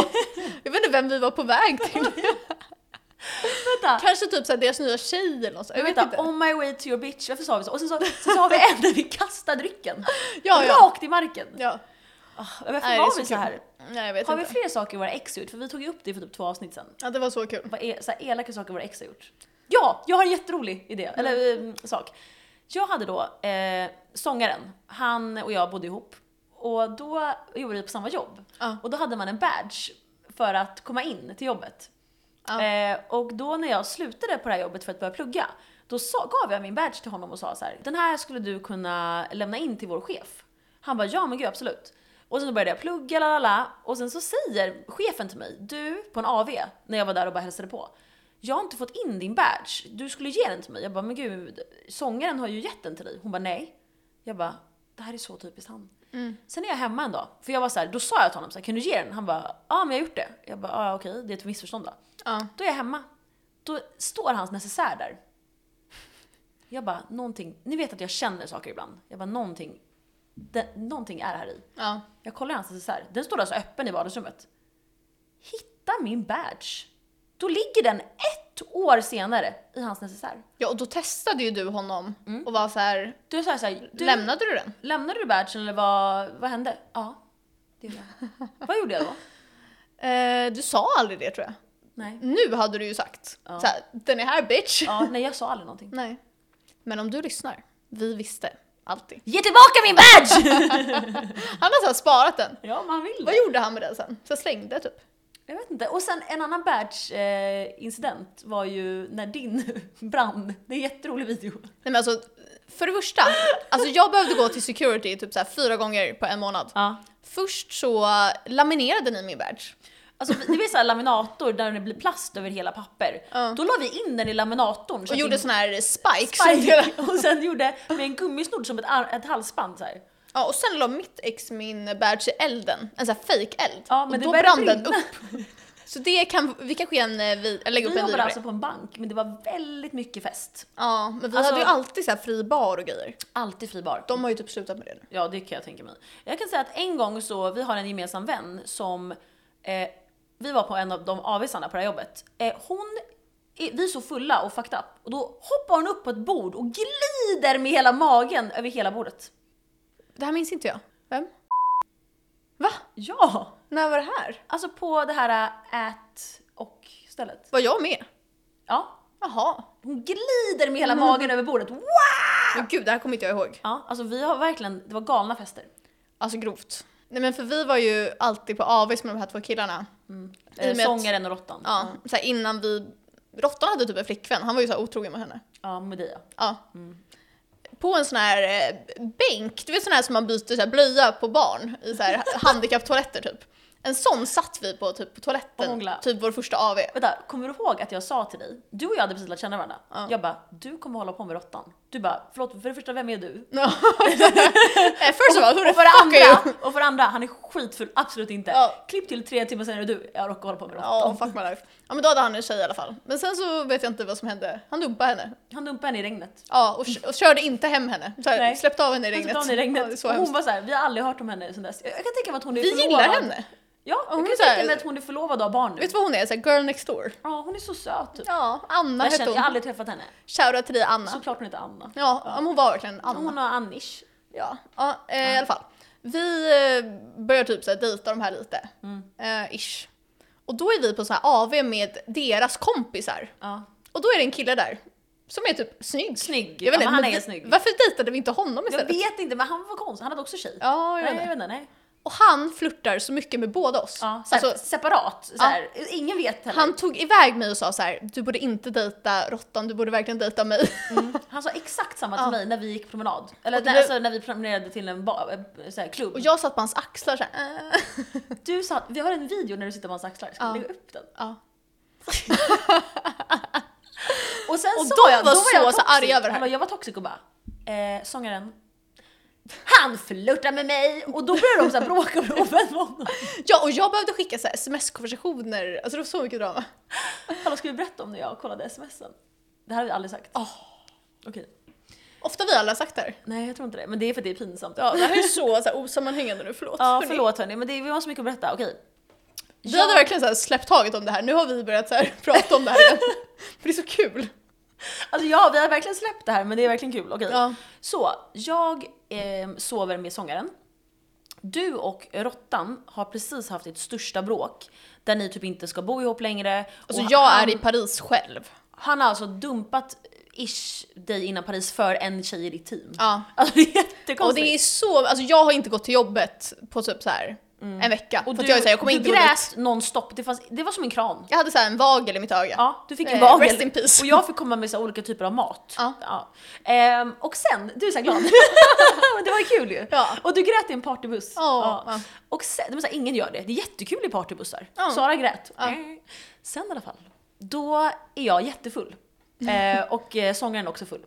Speaker 1: jag vet inte vem vi var på väg till.
Speaker 2: vänta!
Speaker 1: Kanske typ såhär deras nya tjej eller något så. Jag vet
Speaker 2: Vänta,
Speaker 1: inte.
Speaker 2: on my way to your bitch, varför sa vi så? Och sen så, sen så har vi en där vi kastar drycken.
Speaker 1: [LAUGHS] Ja, ja.
Speaker 2: Rakt i marken.
Speaker 1: Ja.
Speaker 2: Ah, varför
Speaker 1: Nej, det är
Speaker 2: var
Speaker 1: så
Speaker 2: vi så
Speaker 1: kul.
Speaker 2: här?
Speaker 1: Nej jag vet
Speaker 2: Har vi
Speaker 1: inte.
Speaker 2: fler saker våra ex gjort? För vi tog ju upp det för typ två avsnitt sen.
Speaker 1: Ja det var så kul.
Speaker 2: Vad är, så här, elaka saker våra ex har gjort. Ja, jag har en jätterolig idé, eller eh, sak. Jag hade då eh, sångaren, han och jag bodde ihop. Och då gjorde vi på samma jobb.
Speaker 1: Ja.
Speaker 2: Och då hade man en badge för att komma in till jobbet.
Speaker 1: Ja.
Speaker 2: Eh, och då när jag slutade på det här jobbet för att börja plugga, då sa, gav jag min badge till honom och sa så här: den här skulle du kunna lämna in till vår chef. Han bara, ja men gud absolut. Och sen började jag plugga, la la la. Och sen så säger chefen till mig, du på en AV, när jag var där och bara hälsade på. Jag har inte fått in din badge, du skulle ge den till mig. Jag bara, men gud, sångaren har ju gett den till dig. Hon bara, nej. Jag bara, det här är så typiskt han. Sen är jag hemma en dag, för jag var så här, då sa jag till honom så här, kan du ge den? Han bara, ja men jag har gjort det. Jag bara, ja okej, det är ett missförstånd då.
Speaker 1: Ja.
Speaker 2: Då är jag hemma. Då står hans necessär där. Jag bara, någonting, ni vet att jag känner saker ibland. Jag bara, någonting, det, någonting är här i.
Speaker 1: Ja.
Speaker 2: Jag kollar i hans necessär, den står alltså öppen i vardagsrummet. Hitta min badge. Då ligger den ett år senare i hans necessär.
Speaker 1: ja och då testade ju du honom och var så här.
Speaker 2: Du sa jag så här, Mm. du,
Speaker 1: lämnade du den?
Speaker 2: lämnade du badgen eller vad, vad hände? Ja, det gjorde jag. vad gjorde jag då?
Speaker 1: Eh, du sa aldrig det tror jag.
Speaker 2: Nej.
Speaker 1: Nu hade du ju sagt
Speaker 2: Ja.
Speaker 1: så här, den är här bitch.
Speaker 2: Ja, nej jag sa aldrig någonting.
Speaker 1: Nej. Men om du lyssnar, vi visste alltid.
Speaker 2: Ge tillbaka min badge!
Speaker 1: Han har så här sparat den.
Speaker 2: ja, man vill
Speaker 1: Vad gjorde han med den sen? Så slängde typ.
Speaker 2: Jag vet inte. Och sen en annan badge-incident var ju när din [LAUGHS] brann. Det är en jätterolig video.
Speaker 1: Nej men alltså, för det första, alltså jag behövde gå till security typ så här fyra gånger på en månad.
Speaker 2: Ja.
Speaker 1: Först så laminerade ni min badge.
Speaker 2: Alltså, det blir såhär laminator där det blir plast över hela papper.
Speaker 1: Ja.
Speaker 2: Då la vi in den i laminatorn. så
Speaker 1: Och
Speaker 2: att
Speaker 1: gjorde
Speaker 2: det-
Speaker 1: sån här spikes.
Speaker 2: Spike. [LAUGHS] Och sen gjorde med en gummisnodd som ett, ar- ett halsband så här.
Speaker 1: Ja, och sen la mitt ex min badge i elden, en sån här fake eld
Speaker 2: Ja, men
Speaker 1: och
Speaker 2: det
Speaker 1: då
Speaker 2: började
Speaker 1: brann den
Speaker 2: brinna.
Speaker 1: upp. Så det kan, vi kanske kan eh, vi, lägga upp
Speaker 2: Vi
Speaker 1: en video
Speaker 2: jobbade
Speaker 1: på
Speaker 2: alltså
Speaker 1: det.
Speaker 2: på en bank, men det var väldigt mycket fest.
Speaker 1: Ja, men vi
Speaker 2: Alltså-
Speaker 1: hade ju alltid så här fri bar och grejer.
Speaker 2: Alltid fri bar.
Speaker 1: De har ju typ slutat med det nu.
Speaker 2: Ja, det kan jag tänka mig. Jag kan säga att en gång så, vi har en gemensam vän som, eh, vi var på en av de avisarna på det här jobbet. Eh, hon, är, vi är så fulla och fucked up och då hoppar hon upp på ett bord och glider med hela magen över hela bordet.
Speaker 1: Det här minns inte jag. Vem? Va?
Speaker 2: Ja!
Speaker 1: När var det här?
Speaker 2: Alltså på det här eh, ät och stället.
Speaker 1: Var jag med?
Speaker 2: Ja.
Speaker 1: Jaha.
Speaker 2: Hon glider [LAUGHS] med hela magen över bordet. Wow!
Speaker 1: Men gud, det här kommer inte jag ihåg.
Speaker 2: Ja, alltså vi har verkligen, det var galna fester.
Speaker 1: Alltså grovt. Nej men för vi var ju alltid på avis med de här två killarna. I och
Speaker 2: Eh,
Speaker 1: med att-
Speaker 2: sångaren och råttan.
Speaker 1: Ja, så här innan vi... Råttan hade typ en flickvän, han var ju så här otrogen med henne.
Speaker 2: ja med dig ja.
Speaker 1: Ja. På en sån här eh, bänk, du vet sån här som man byter så här blöja på barn i så här handikapptoaletter typ. En sån satt vi på typ på
Speaker 2: Och
Speaker 1: toaletten,
Speaker 2: hångla.
Speaker 1: typ vår första AV.
Speaker 2: Vänta, kommer du ihåg att jag sa till dig, du och jag hade precis lärt känna varandra.
Speaker 1: Ja.
Speaker 2: Jag bara, du kommer hålla på med råttan. Du bara, förlåt för det första, vem är du?
Speaker 1: Eh, Först så bara, hur
Speaker 2: Och för det
Speaker 1: fuck are you?
Speaker 2: andra, och för det andra, han är skitfull, absolut inte.
Speaker 1: Ja.
Speaker 2: Klipp till tre timmar senare, du, jag råkar hålla på med
Speaker 1: Ja,
Speaker 2: råttan.
Speaker 1: fuck my life. Ja men då hade han en tjej i alla fall. Men sen så vet jag inte vad som hände. Han dumpade henne.
Speaker 2: Han dumpade henne i regnet.
Speaker 1: Ja, och, och körde inte hem henne. Så här,
Speaker 2: Nej.
Speaker 1: släppte av henne i
Speaker 2: Han
Speaker 1: regnet.
Speaker 2: dumpade henne i
Speaker 1: Ja, det är
Speaker 2: regnet.
Speaker 1: så
Speaker 2: och
Speaker 1: hemskt.
Speaker 2: hon var såhär, vi har aldrig hört om henne sen dess. Jag jag kan tänka mig att hon är
Speaker 1: Vi
Speaker 2: förlovad.
Speaker 1: gillar henne.
Speaker 2: Ja, jag
Speaker 1: hon
Speaker 2: kan
Speaker 1: är så här-
Speaker 2: tänka mig att hon är förlovad och har barn nu.
Speaker 1: Vet du vad hon är? Så här, girl next door.
Speaker 2: Ja, hon är så söt typ.
Speaker 1: Ja, Anna
Speaker 2: Jag,
Speaker 1: hette
Speaker 2: känner, jag har
Speaker 1: hon.
Speaker 2: aldrig träffat henne.
Speaker 1: Shoutout till dig Anna.
Speaker 2: Såklart hon heter Anna.
Speaker 1: Ja, men hon var verkligen Anna.
Speaker 2: Hon har Annish.
Speaker 1: Ja, ja eh, i alla fall. Vi eh, börjar typ så här dejta de här lite.
Speaker 2: Mm.
Speaker 1: Eh, ish. Och då är vi på så här AV med deras kompisar.
Speaker 2: Ja.
Speaker 1: Och då är det en kille där som är typ snygg.
Speaker 2: Snygg.
Speaker 1: Jag vet
Speaker 2: ja,
Speaker 1: inte,
Speaker 2: men han
Speaker 1: men
Speaker 2: är
Speaker 1: vi-
Speaker 2: snygg.
Speaker 1: Varför dejtade vi inte honom
Speaker 2: Jag
Speaker 1: istället?
Speaker 2: vet inte, men han var konstig. Han hade också tjej.
Speaker 1: Ja, jag
Speaker 2: Nej,
Speaker 1: vet
Speaker 2: jag
Speaker 1: inte.
Speaker 2: vet inte, nej.
Speaker 1: Och han flörtar så mycket med båda oss.
Speaker 2: Ja, såhär,
Speaker 1: alltså,
Speaker 2: separat. Såhär. Ingen vet heller.
Speaker 1: han tog iväg mig och sa så här: du borde inte dejta råttan, du borde verkligen dejta mig.
Speaker 2: Han sa exakt samma till mig när vi gick promenad. Eller
Speaker 1: Och
Speaker 2: när,
Speaker 1: det-
Speaker 2: alltså, när vi promenerade till en ba, eh, såhär, klubb.
Speaker 1: Och jag satt på hans axlar såhär, äh.
Speaker 2: Du sa att vi har en video när du sitter på hans axlar, ska vi
Speaker 1: Ja.
Speaker 2: lägga upp den?
Speaker 1: ja.
Speaker 2: Och sen
Speaker 1: Och
Speaker 2: sa
Speaker 1: de
Speaker 2: jag,
Speaker 1: var
Speaker 2: då var jag
Speaker 1: så- så
Speaker 2: toxic.
Speaker 1: arga över det här.
Speaker 2: Hallå, Jag var toxic och bara, eh, sångaren. Han flörtar med mig! Och då började de såhär bråka och bli ovän med
Speaker 1: [LAUGHS]
Speaker 2: honom.
Speaker 1: ja, och jag behövde skicka så här sms-konversationer, alltså det var så mycket drama.
Speaker 2: Hallå ska vi berätta om när jag kollade smsen? Det här har vi aldrig sagt.
Speaker 1: Oh.
Speaker 2: Okej.
Speaker 1: Ofta vi alla har sagt det här.
Speaker 2: Nej jag tror inte det, men det är för att det är pinsamt.
Speaker 1: Ja, det här är så, så här, osammanhängande nu, förlåt.
Speaker 2: Ja,
Speaker 1: Hörni.
Speaker 2: förlåt hörni, men det, vi har så mycket att berätta. Okej.
Speaker 1: Vi hade verkligen så här släppt taget om det här, nu har vi börjat så här [LAUGHS] prata om det här igen. För det är så kul.
Speaker 2: Alltså ja, vi har verkligen släppt det här men det är verkligen kul. Okej.
Speaker 1: Ja.
Speaker 2: Så, jag eh, sover med sångaren. Du och Rottan har precis haft ert största bråk där ni typ inte ska bo ihop längre.
Speaker 1: Alltså
Speaker 2: och
Speaker 1: jag
Speaker 2: han,
Speaker 1: är i Paris själv.
Speaker 2: han har alltså dumpat ish dig innan Paris för en tjej i ditt team.
Speaker 1: Ja.
Speaker 2: Alltså det är
Speaker 1: Och
Speaker 2: jättekonstigt.
Speaker 1: det är så, alltså jag har inte gått till jobbet på typ så här en vecka.
Speaker 2: Och
Speaker 1: för att jag, är så här, jag kommer
Speaker 2: du
Speaker 1: inte gå dit.
Speaker 2: grät nonstop, det, fanns, det var som en kran.
Speaker 1: Jag hade så här en vagel i mitt öga.
Speaker 2: Ja, du fick en
Speaker 1: Eh,
Speaker 2: vagel.
Speaker 1: rest in peace.
Speaker 2: Och jag fick komma med så här olika typer av mat.
Speaker 1: Ja.
Speaker 2: Ehm, och sen, du är så
Speaker 1: [LAUGHS]
Speaker 2: här glad. [LAUGHS] det var kul ju.
Speaker 1: Ja.
Speaker 2: Och du grät i en partybuss.
Speaker 1: Ja, ja.
Speaker 2: Och sen, det var så här, ingen gör det. Det är jättekul i partybussar.
Speaker 1: Ja.
Speaker 2: Sara grät.
Speaker 1: Ja.
Speaker 2: Eh. Sen i alla fall, då är jag jättefull.
Speaker 1: Mm.
Speaker 2: Eh, och eh, sångaren är också full.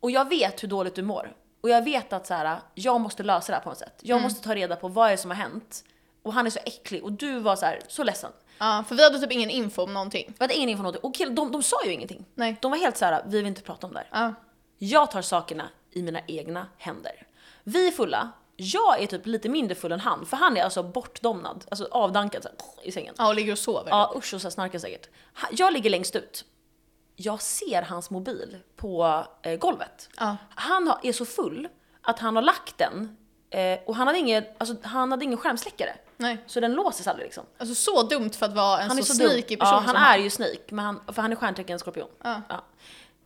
Speaker 2: Och jag vet hur dåligt du mår. Och jag vet att så här, jag måste lösa det här på något sätt.
Speaker 1: Mm.
Speaker 2: Jag måste ta reda på vad det är som har hänt. Och han är så äcklig och du var så här, så ledsen.
Speaker 1: Ja, för vi hade typ ingen info om någonting.
Speaker 2: Vi hade ingen info om någonting. Och killen, de, de sa ju ingenting.
Speaker 1: Nej.
Speaker 2: De var helt så här: vi vill inte prata om det här.
Speaker 1: Ja.
Speaker 2: Jag tar sakerna i mina egna händer. Vi är fulla, jag är typ lite mindre full än han, för han är alltså bortdomnad, alltså avdankad så här, i sängen.
Speaker 1: ja, och ligger och sover.
Speaker 2: Ja usch och så här snarkar säkert. Ha- Jag ligger längst ut. Jag ser hans mobil på eh, golvet.
Speaker 1: Ja.
Speaker 2: Han har, är så full att han har lagt den eh, och han hade, ingen, alltså, han hade ingen skärmsläckare.
Speaker 1: Nej.
Speaker 2: Så den låses aldrig liksom.
Speaker 1: Alltså så dumt för att vara en
Speaker 2: Han är
Speaker 1: så,
Speaker 2: så
Speaker 1: sneaky person
Speaker 2: dum. Ja, han
Speaker 1: som
Speaker 2: är ju sneak, men han, för han är stjärntecken skorpion.
Speaker 1: Ja.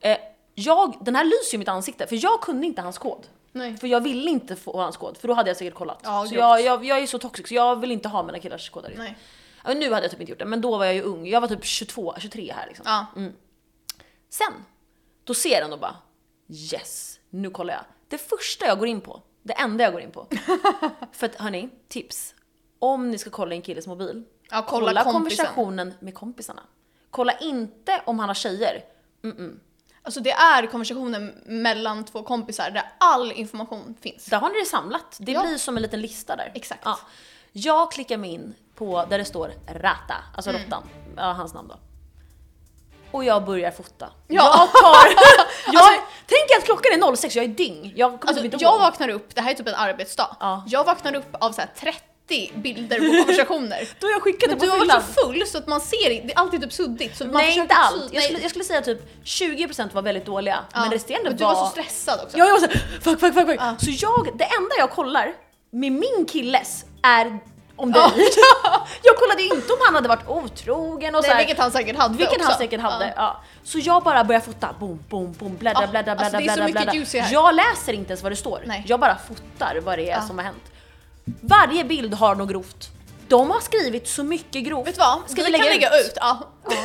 Speaker 2: Eh, jag, den här lyser ju i mitt ansikte, för jag kunde inte hans kod.
Speaker 1: Nej.
Speaker 2: För jag ville inte få hans kod, för då hade jag säkert kollat.
Speaker 1: Ja,
Speaker 2: så
Speaker 1: grovt.
Speaker 2: jag, jag, jag är så toxic, så jag vill inte ha mina killars koder.
Speaker 1: Nej.
Speaker 2: Ja, Nu hade jag typ inte gjort det, men då var jag ju ung. Jag var typ 22, 23 här liksom.
Speaker 1: Ja.
Speaker 2: Sen, då ser den och bara yes, nu kollar jag. Det första jag går in på, det enda jag går
Speaker 1: [LAUGHS]
Speaker 2: in på. För att hörni, tips. Om ni ska kolla i en killes mobil,
Speaker 1: Ja, kolla
Speaker 2: kolla,
Speaker 1: kompisen.
Speaker 2: konversationen med kompisarna. Kolla inte om han har tjejer. Mm-mm.
Speaker 1: Alltså det är konversationen mellan två kompisar där all information finns.
Speaker 2: Där har ni det samlat. Det
Speaker 1: Ja.
Speaker 2: blir som en liten lista där.
Speaker 1: Exakt.
Speaker 2: Ja. Jag klickar mig in på där det står Rata, alltså
Speaker 1: Mm.
Speaker 2: Råttan, ja, hans namn då. Och jag börjar fota.
Speaker 1: Ja. [LAUGHS]
Speaker 2: Jag tar... jag, Alltså, tänk att klockan är 06, jag är dyng. Jag kommer
Speaker 1: Alltså
Speaker 2: typ inte
Speaker 1: jag
Speaker 2: ihåg.
Speaker 1: vaknar upp, det här är typ en arbetsdag,
Speaker 2: Ja.
Speaker 1: jag vaknar upp av så här 30 bilder på
Speaker 2: [LAUGHS]
Speaker 1: konversationer.
Speaker 2: Då har jag skickat
Speaker 1: Men
Speaker 2: det
Speaker 1: du
Speaker 2: på
Speaker 1: har
Speaker 2: fyllan.
Speaker 1: varit så full så att man ser inte, det är alltid typ suddigt. Så man
Speaker 2: Nej
Speaker 1: försöker
Speaker 2: inte
Speaker 1: sy-
Speaker 2: allt. Jag
Speaker 1: nej.
Speaker 2: skulle, jag skulle säga typ 20% var väldigt dåliga.
Speaker 1: Ja.
Speaker 2: Men resterande
Speaker 1: Men du
Speaker 2: var...
Speaker 1: var... så stressad också.
Speaker 2: Ja, jag var såhär fuck, fuck, fuck, fuck. Så jag, det enda jag kollar med min killes är om dig. [LAUGHS] jag kollade ju inte om han hade varit otrogen och
Speaker 1: nej,
Speaker 2: såhär.
Speaker 1: vilket han säkert hade
Speaker 2: Vilken
Speaker 1: också.
Speaker 2: han säkert hade. Ja.
Speaker 1: Ja.
Speaker 2: Så jag bara börjar fota, boom, boom, boom, bläddra,
Speaker 1: Ja,
Speaker 2: bläddra,
Speaker 1: alltså
Speaker 2: bläddra,
Speaker 1: det är så
Speaker 2: bläddra,
Speaker 1: mycket
Speaker 2: bläddra.
Speaker 1: juice i det här.
Speaker 2: Jag läser inte ens vad det står.
Speaker 1: Nej.
Speaker 2: Jag bara fotar vad det är som har hänt. Varje bild har något grovt. De har skrivit så mycket grovt.
Speaker 1: Vet du vad?
Speaker 2: Ska
Speaker 1: Ska
Speaker 2: vi
Speaker 1: vi kan
Speaker 2: lägga
Speaker 1: lägga ut? Ja. [LAUGHS]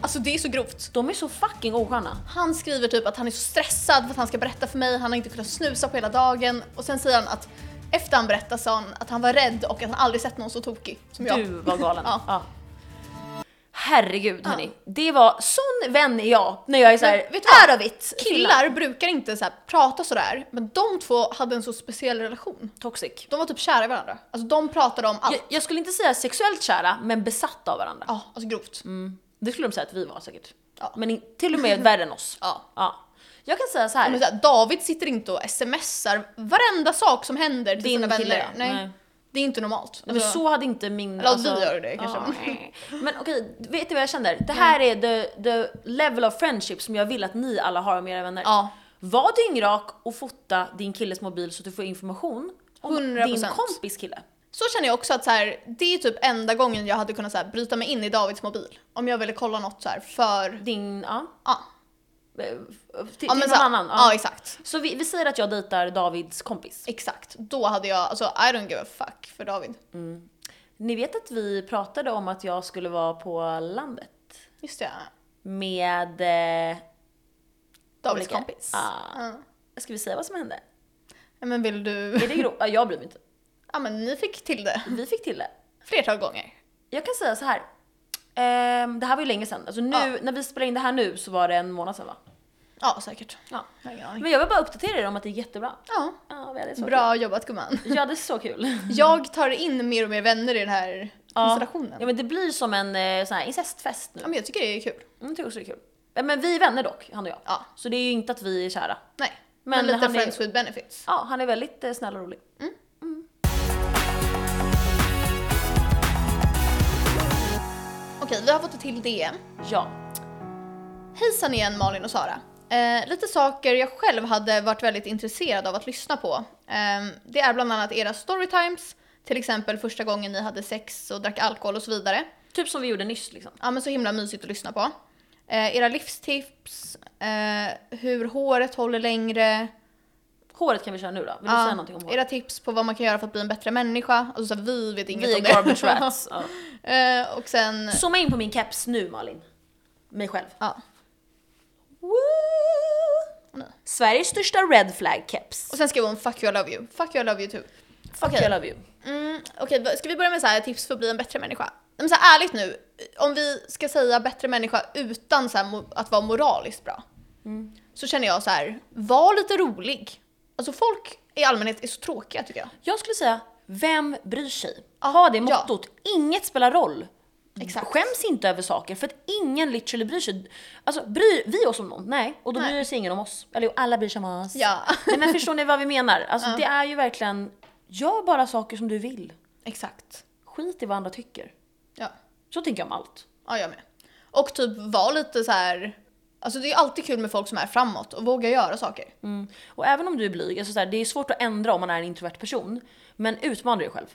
Speaker 1: alltså det är så grovt.
Speaker 2: De är så fucking osköna.
Speaker 1: Han skriver typ att han är så stressad för att han ska berätta för mig, han har inte kunnat snusa på hela dagen och sen säger han att efter han berättar sa han att han var rädd och att han aldrig sett någon så tokig som jag.
Speaker 2: Du var galen.
Speaker 1: [LAUGHS] Ja.
Speaker 2: Ja. Herregud hörni, det var sån vän är jag när jag är såhär,
Speaker 1: Men vet du vad?
Speaker 2: är av it.
Speaker 1: Killar brukar inte så här prata sådär, men de två hade en så speciell relation.
Speaker 2: Toxic.
Speaker 1: De var typ kära i varandra. Alltså de pratade om allt.
Speaker 2: Jag, jag skulle inte säga sexuellt kära, men besatta av varandra.
Speaker 1: Ja, alltså grovt.
Speaker 2: Mm. Det skulle de säga att vi var säkert.
Speaker 1: Ja.
Speaker 2: Men in, till och med värre än oss.
Speaker 1: Ja.
Speaker 2: Ja. Jag kan säga så här.
Speaker 1: Men så här, David sitter inte och smsar varenda sak som händer till
Speaker 2: Din
Speaker 1: sina vänner.
Speaker 2: kille, ja.
Speaker 1: Nej.
Speaker 2: Nej.
Speaker 1: Det är inte normalt.
Speaker 2: Men
Speaker 1: Alltså,
Speaker 2: så hade inte min... alltså-
Speaker 1: Eller att vi gör det kanske, Mm.
Speaker 2: ja.
Speaker 1: men-
Speaker 2: Men okej, vet du vad jag känner? Det här är the, the level of friendship som jag vill att ni alla har med era vänner.
Speaker 1: Ja.
Speaker 2: Var dyngrak och fota din killes mobil så att du får information om
Speaker 1: 100%.
Speaker 2: din kompis kille.
Speaker 1: Så känner jag också att så här, det är typ enda gången jag hade kunnat så här, bryta mig in i Davids mobil. Om jag ville kolla något så här för...
Speaker 2: Din, ja.
Speaker 1: Ja,
Speaker 2: eh, Till,
Speaker 1: ja
Speaker 2: till
Speaker 1: så
Speaker 2: någon
Speaker 1: här,
Speaker 2: annan.
Speaker 1: ja.
Speaker 2: Ja.
Speaker 1: exakt.
Speaker 2: Så vi, vi säger att jag dejtar Davids kompis.
Speaker 1: Exakt. Då hade jag, alltså I don't give a fuck för David.
Speaker 2: Mm. Ni vet att vi pratade om att jag skulle vara på landet
Speaker 1: Just det,
Speaker 2: med... Eh,
Speaker 1: Davids
Speaker 2: Olika.
Speaker 1: kompis.
Speaker 2: Ah.
Speaker 1: Ja.
Speaker 2: ska vi säga vad som hände?
Speaker 1: Ja, Men vill du...
Speaker 2: Är det grovt? [LAUGHS] Ja, jag bryr mig inte.
Speaker 1: Ja men ni fick till det
Speaker 2: Vi fick till det.
Speaker 1: flertal gånger.
Speaker 2: Jag kan säga så här. Ehm, det här var ju länge sedan. Alltså nu,
Speaker 1: Ja.
Speaker 2: när vi spelade in det här nu så var det en månad sedan va?
Speaker 1: Ja, säkert.
Speaker 2: Ja.
Speaker 1: Jag har ingen aning.
Speaker 2: Men jag vill bara uppdatera er om att det är jättebra.
Speaker 1: Ja,
Speaker 2: Ja, vi hade så
Speaker 1: bra jobbat gumman.
Speaker 2: Kul. Ja, det är så kul.
Speaker 1: Jag tar in mer och mer vänner i den här konstellationen.
Speaker 2: Ja,
Speaker 1: Ja,
Speaker 2: men det blir som en eh, sån här incestfest nu.
Speaker 1: men jag tycker det är kul.
Speaker 2: Mm, det är också kul. Ja, Men vi är vänner dock, han och jag.
Speaker 1: Ja.
Speaker 2: Så det är ju inte att vi är kära.
Speaker 1: Nej.
Speaker 2: Men
Speaker 1: Men, lite
Speaker 2: han är-
Speaker 1: friends with benefits.
Speaker 2: Ja, han är väldigt eh, snäll och rolig.
Speaker 1: vi har fått ett till DM.
Speaker 2: Ja.
Speaker 1: Hejsan igen Malin och Sara. Eh, lite saker jag själv hade varit väldigt intresserad av att lyssna på. Eh, det är bland annat era storytimes, till exempel första gången ni hade sex och drack alkohol och så vidare.
Speaker 2: Typ som vi gjorde nyss liksom.
Speaker 1: Ja men så himla mysigt att lyssna på. Eh, era livstips, eh, hur håret håller längre.
Speaker 2: Håret kan vi köra nu då. Vill du
Speaker 1: Ja,
Speaker 2: säga någonting om håret?
Speaker 1: era tips på vad man kan göra för att bli en bättre människa. Alltså så här, vi vet inget
Speaker 2: Vi är
Speaker 1: om det. [LAUGHS]
Speaker 2: garbage rats. Ja.
Speaker 1: Eh, och sen,
Speaker 2: Zooma in på min keps nu Malin. Mig själv.
Speaker 1: ja.
Speaker 2: Woo!
Speaker 1: nej.
Speaker 2: Sveriges största red flag keps.
Speaker 1: Och sen skrev hon 'fuck you I love you', 'fuck you I love you too'
Speaker 2: Fuck
Speaker 1: Okej.
Speaker 2: I love you.
Speaker 1: Mm, Okej, vad- ska vi börja med så här, tips för att bli en bättre människa? Men så här, ärligt nu, om vi ska säga bättre människa utan så här, mo- att vara moraliskt bra. Så känner jag så här, var lite rolig. Alltså folk i allmänhet är så tråkiga tycker jag.
Speaker 2: Jag skulle säga, vem bryr sig? Ha det
Speaker 1: ja.
Speaker 2: mottot, inget spelar roll.
Speaker 1: Exakt.
Speaker 2: Skäms inte över saker för att ingen literally bryr sig. Alltså bryr vi oss om någon? Nej, och då
Speaker 1: Nej.
Speaker 2: bryr sig ingen om oss. Eller jo, alla bryr sig om oss.
Speaker 1: Ja,
Speaker 2: Nej, men förstår ni vad vi menar? Alltså det är ju verkligen, gör bara saker som du vill.
Speaker 1: [LAUGHS] exakt.
Speaker 2: Skit i vad andra tycker.
Speaker 1: Ja.
Speaker 2: Så tänker jag om allt.
Speaker 1: ja, jag med. Och typ var lite så här, alltså det är alltid kul med folk som är framåt och vågar göra saker.
Speaker 2: Mm. Och även om du är blyg, alltså så här, det är svårt att ändra om man är en introvert person. Men utmana dig själv.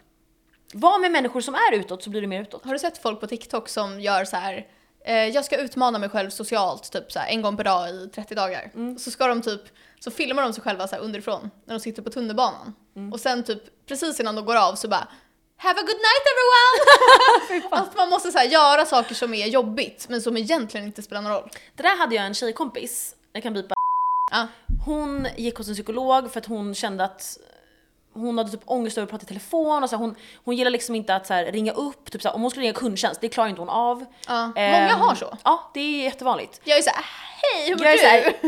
Speaker 2: Var med människor som är utåt så blir du mer utåt.
Speaker 1: Har du sett folk på TikTok som gör så här eh, jag ska utmana mig själv socialt typ så här, en gång per dag i 30 dagar.
Speaker 2: Mm.
Speaker 1: Så ska de typ, så filmar de sig själva så här underifrån när de sitter på tunnelbanan.
Speaker 2: Mm.
Speaker 1: Och sen typ precis innan de går av så bara Have a good night
Speaker 2: [LAUGHS]
Speaker 1: everyone! Att man måste så här, göra saker som är jobbigt men som egentligen inte spelar någon roll.
Speaker 2: Det där hade jag en tjejkompis, jag kan bipa.
Speaker 1: Ja.
Speaker 2: Hon gick hos en psykolog för att hon kände att hon hade typ ångest över att prata i telefon och så här, hon, hon gillar liksom inte att så här, ringa upp, typ så här, om hon skulle ringa kundtjänst, det klarar inte hon av.
Speaker 1: Ja. Många
Speaker 2: Ehm,
Speaker 1: har så.
Speaker 2: Ja, det är jättevanligt.
Speaker 1: Jag är så här, hej hur mår
Speaker 2: Jag är så här,
Speaker 1: du?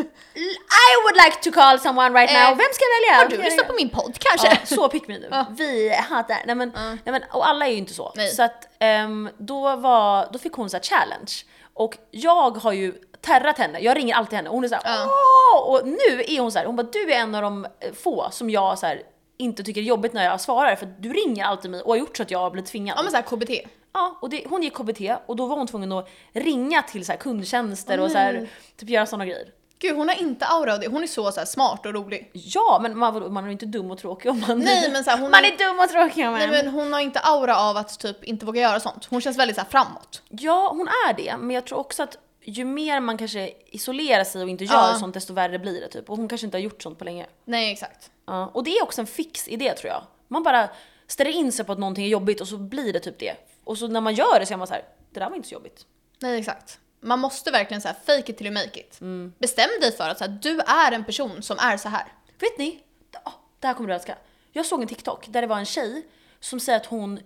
Speaker 2: I would like to call someone right
Speaker 1: Eh,
Speaker 2: now, vem ska jag välja?
Speaker 1: Har du lyssnat på min podd kanske?
Speaker 2: Ja, [LAUGHS] så pick me nu. Vi hatar, nej men,
Speaker 1: Mm.
Speaker 2: nej men, och alla är ju inte så.
Speaker 1: Nej.
Speaker 2: Så att ehm, då, var, då fick hon så här challenge. Och jag har ju terrat henne, jag ringer alltid henne och hon är såhär
Speaker 1: Ja.
Speaker 2: åh! Och nu är hon så här, hon bara du är en av de eh, få som jag så här, inte tycker är jobbigt när jag svarar för att du ringer alltid mig och har gjort så att jag blir tvingad.
Speaker 1: Ja men så här KBT.
Speaker 2: Ja, och det, hon gick KBT och då var hon tvungen att ringa till så här kundtjänster
Speaker 1: Åh,
Speaker 2: och så här,
Speaker 1: nej.
Speaker 2: typ göra sådana grejer.
Speaker 1: Gud hon har inte aura av det, hon är så, så här, smart och rolig.
Speaker 2: Ja, men man, vadå, man är ju inte dum och tråkig om man... [LAUGHS]
Speaker 1: Nej, men så här, hon-
Speaker 2: man är dum och tråkig om
Speaker 1: Nej men hon har inte aura av att typ inte våga göra sånt. Hon känns väldigt så här framåt.
Speaker 2: Ja, hon är det. Men jag tror också att ju mer man kanske isolerar sig och inte gör
Speaker 1: Ja.
Speaker 2: sånt, desto värre blir det. Typ. Och hon kanske inte har gjort sånt på länge.
Speaker 1: Nej exakt.
Speaker 2: Ja. Och det är också en fix idé tror jag. Man bara ställer in sig på att någonting är jobbigt och så blir det typ det. Och så när man gör det så är man så här, det där var inte så jobbigt.
Speaker 1: Nej exakt. Man måste verkligen så här fake it till you make it. Bestäm dig för att så här, du är en person som är så här.
Speaker 2: Vet ni? Ah, Det här kommer du älska. Jag såg en TikTok där det var en tjej som säger att hon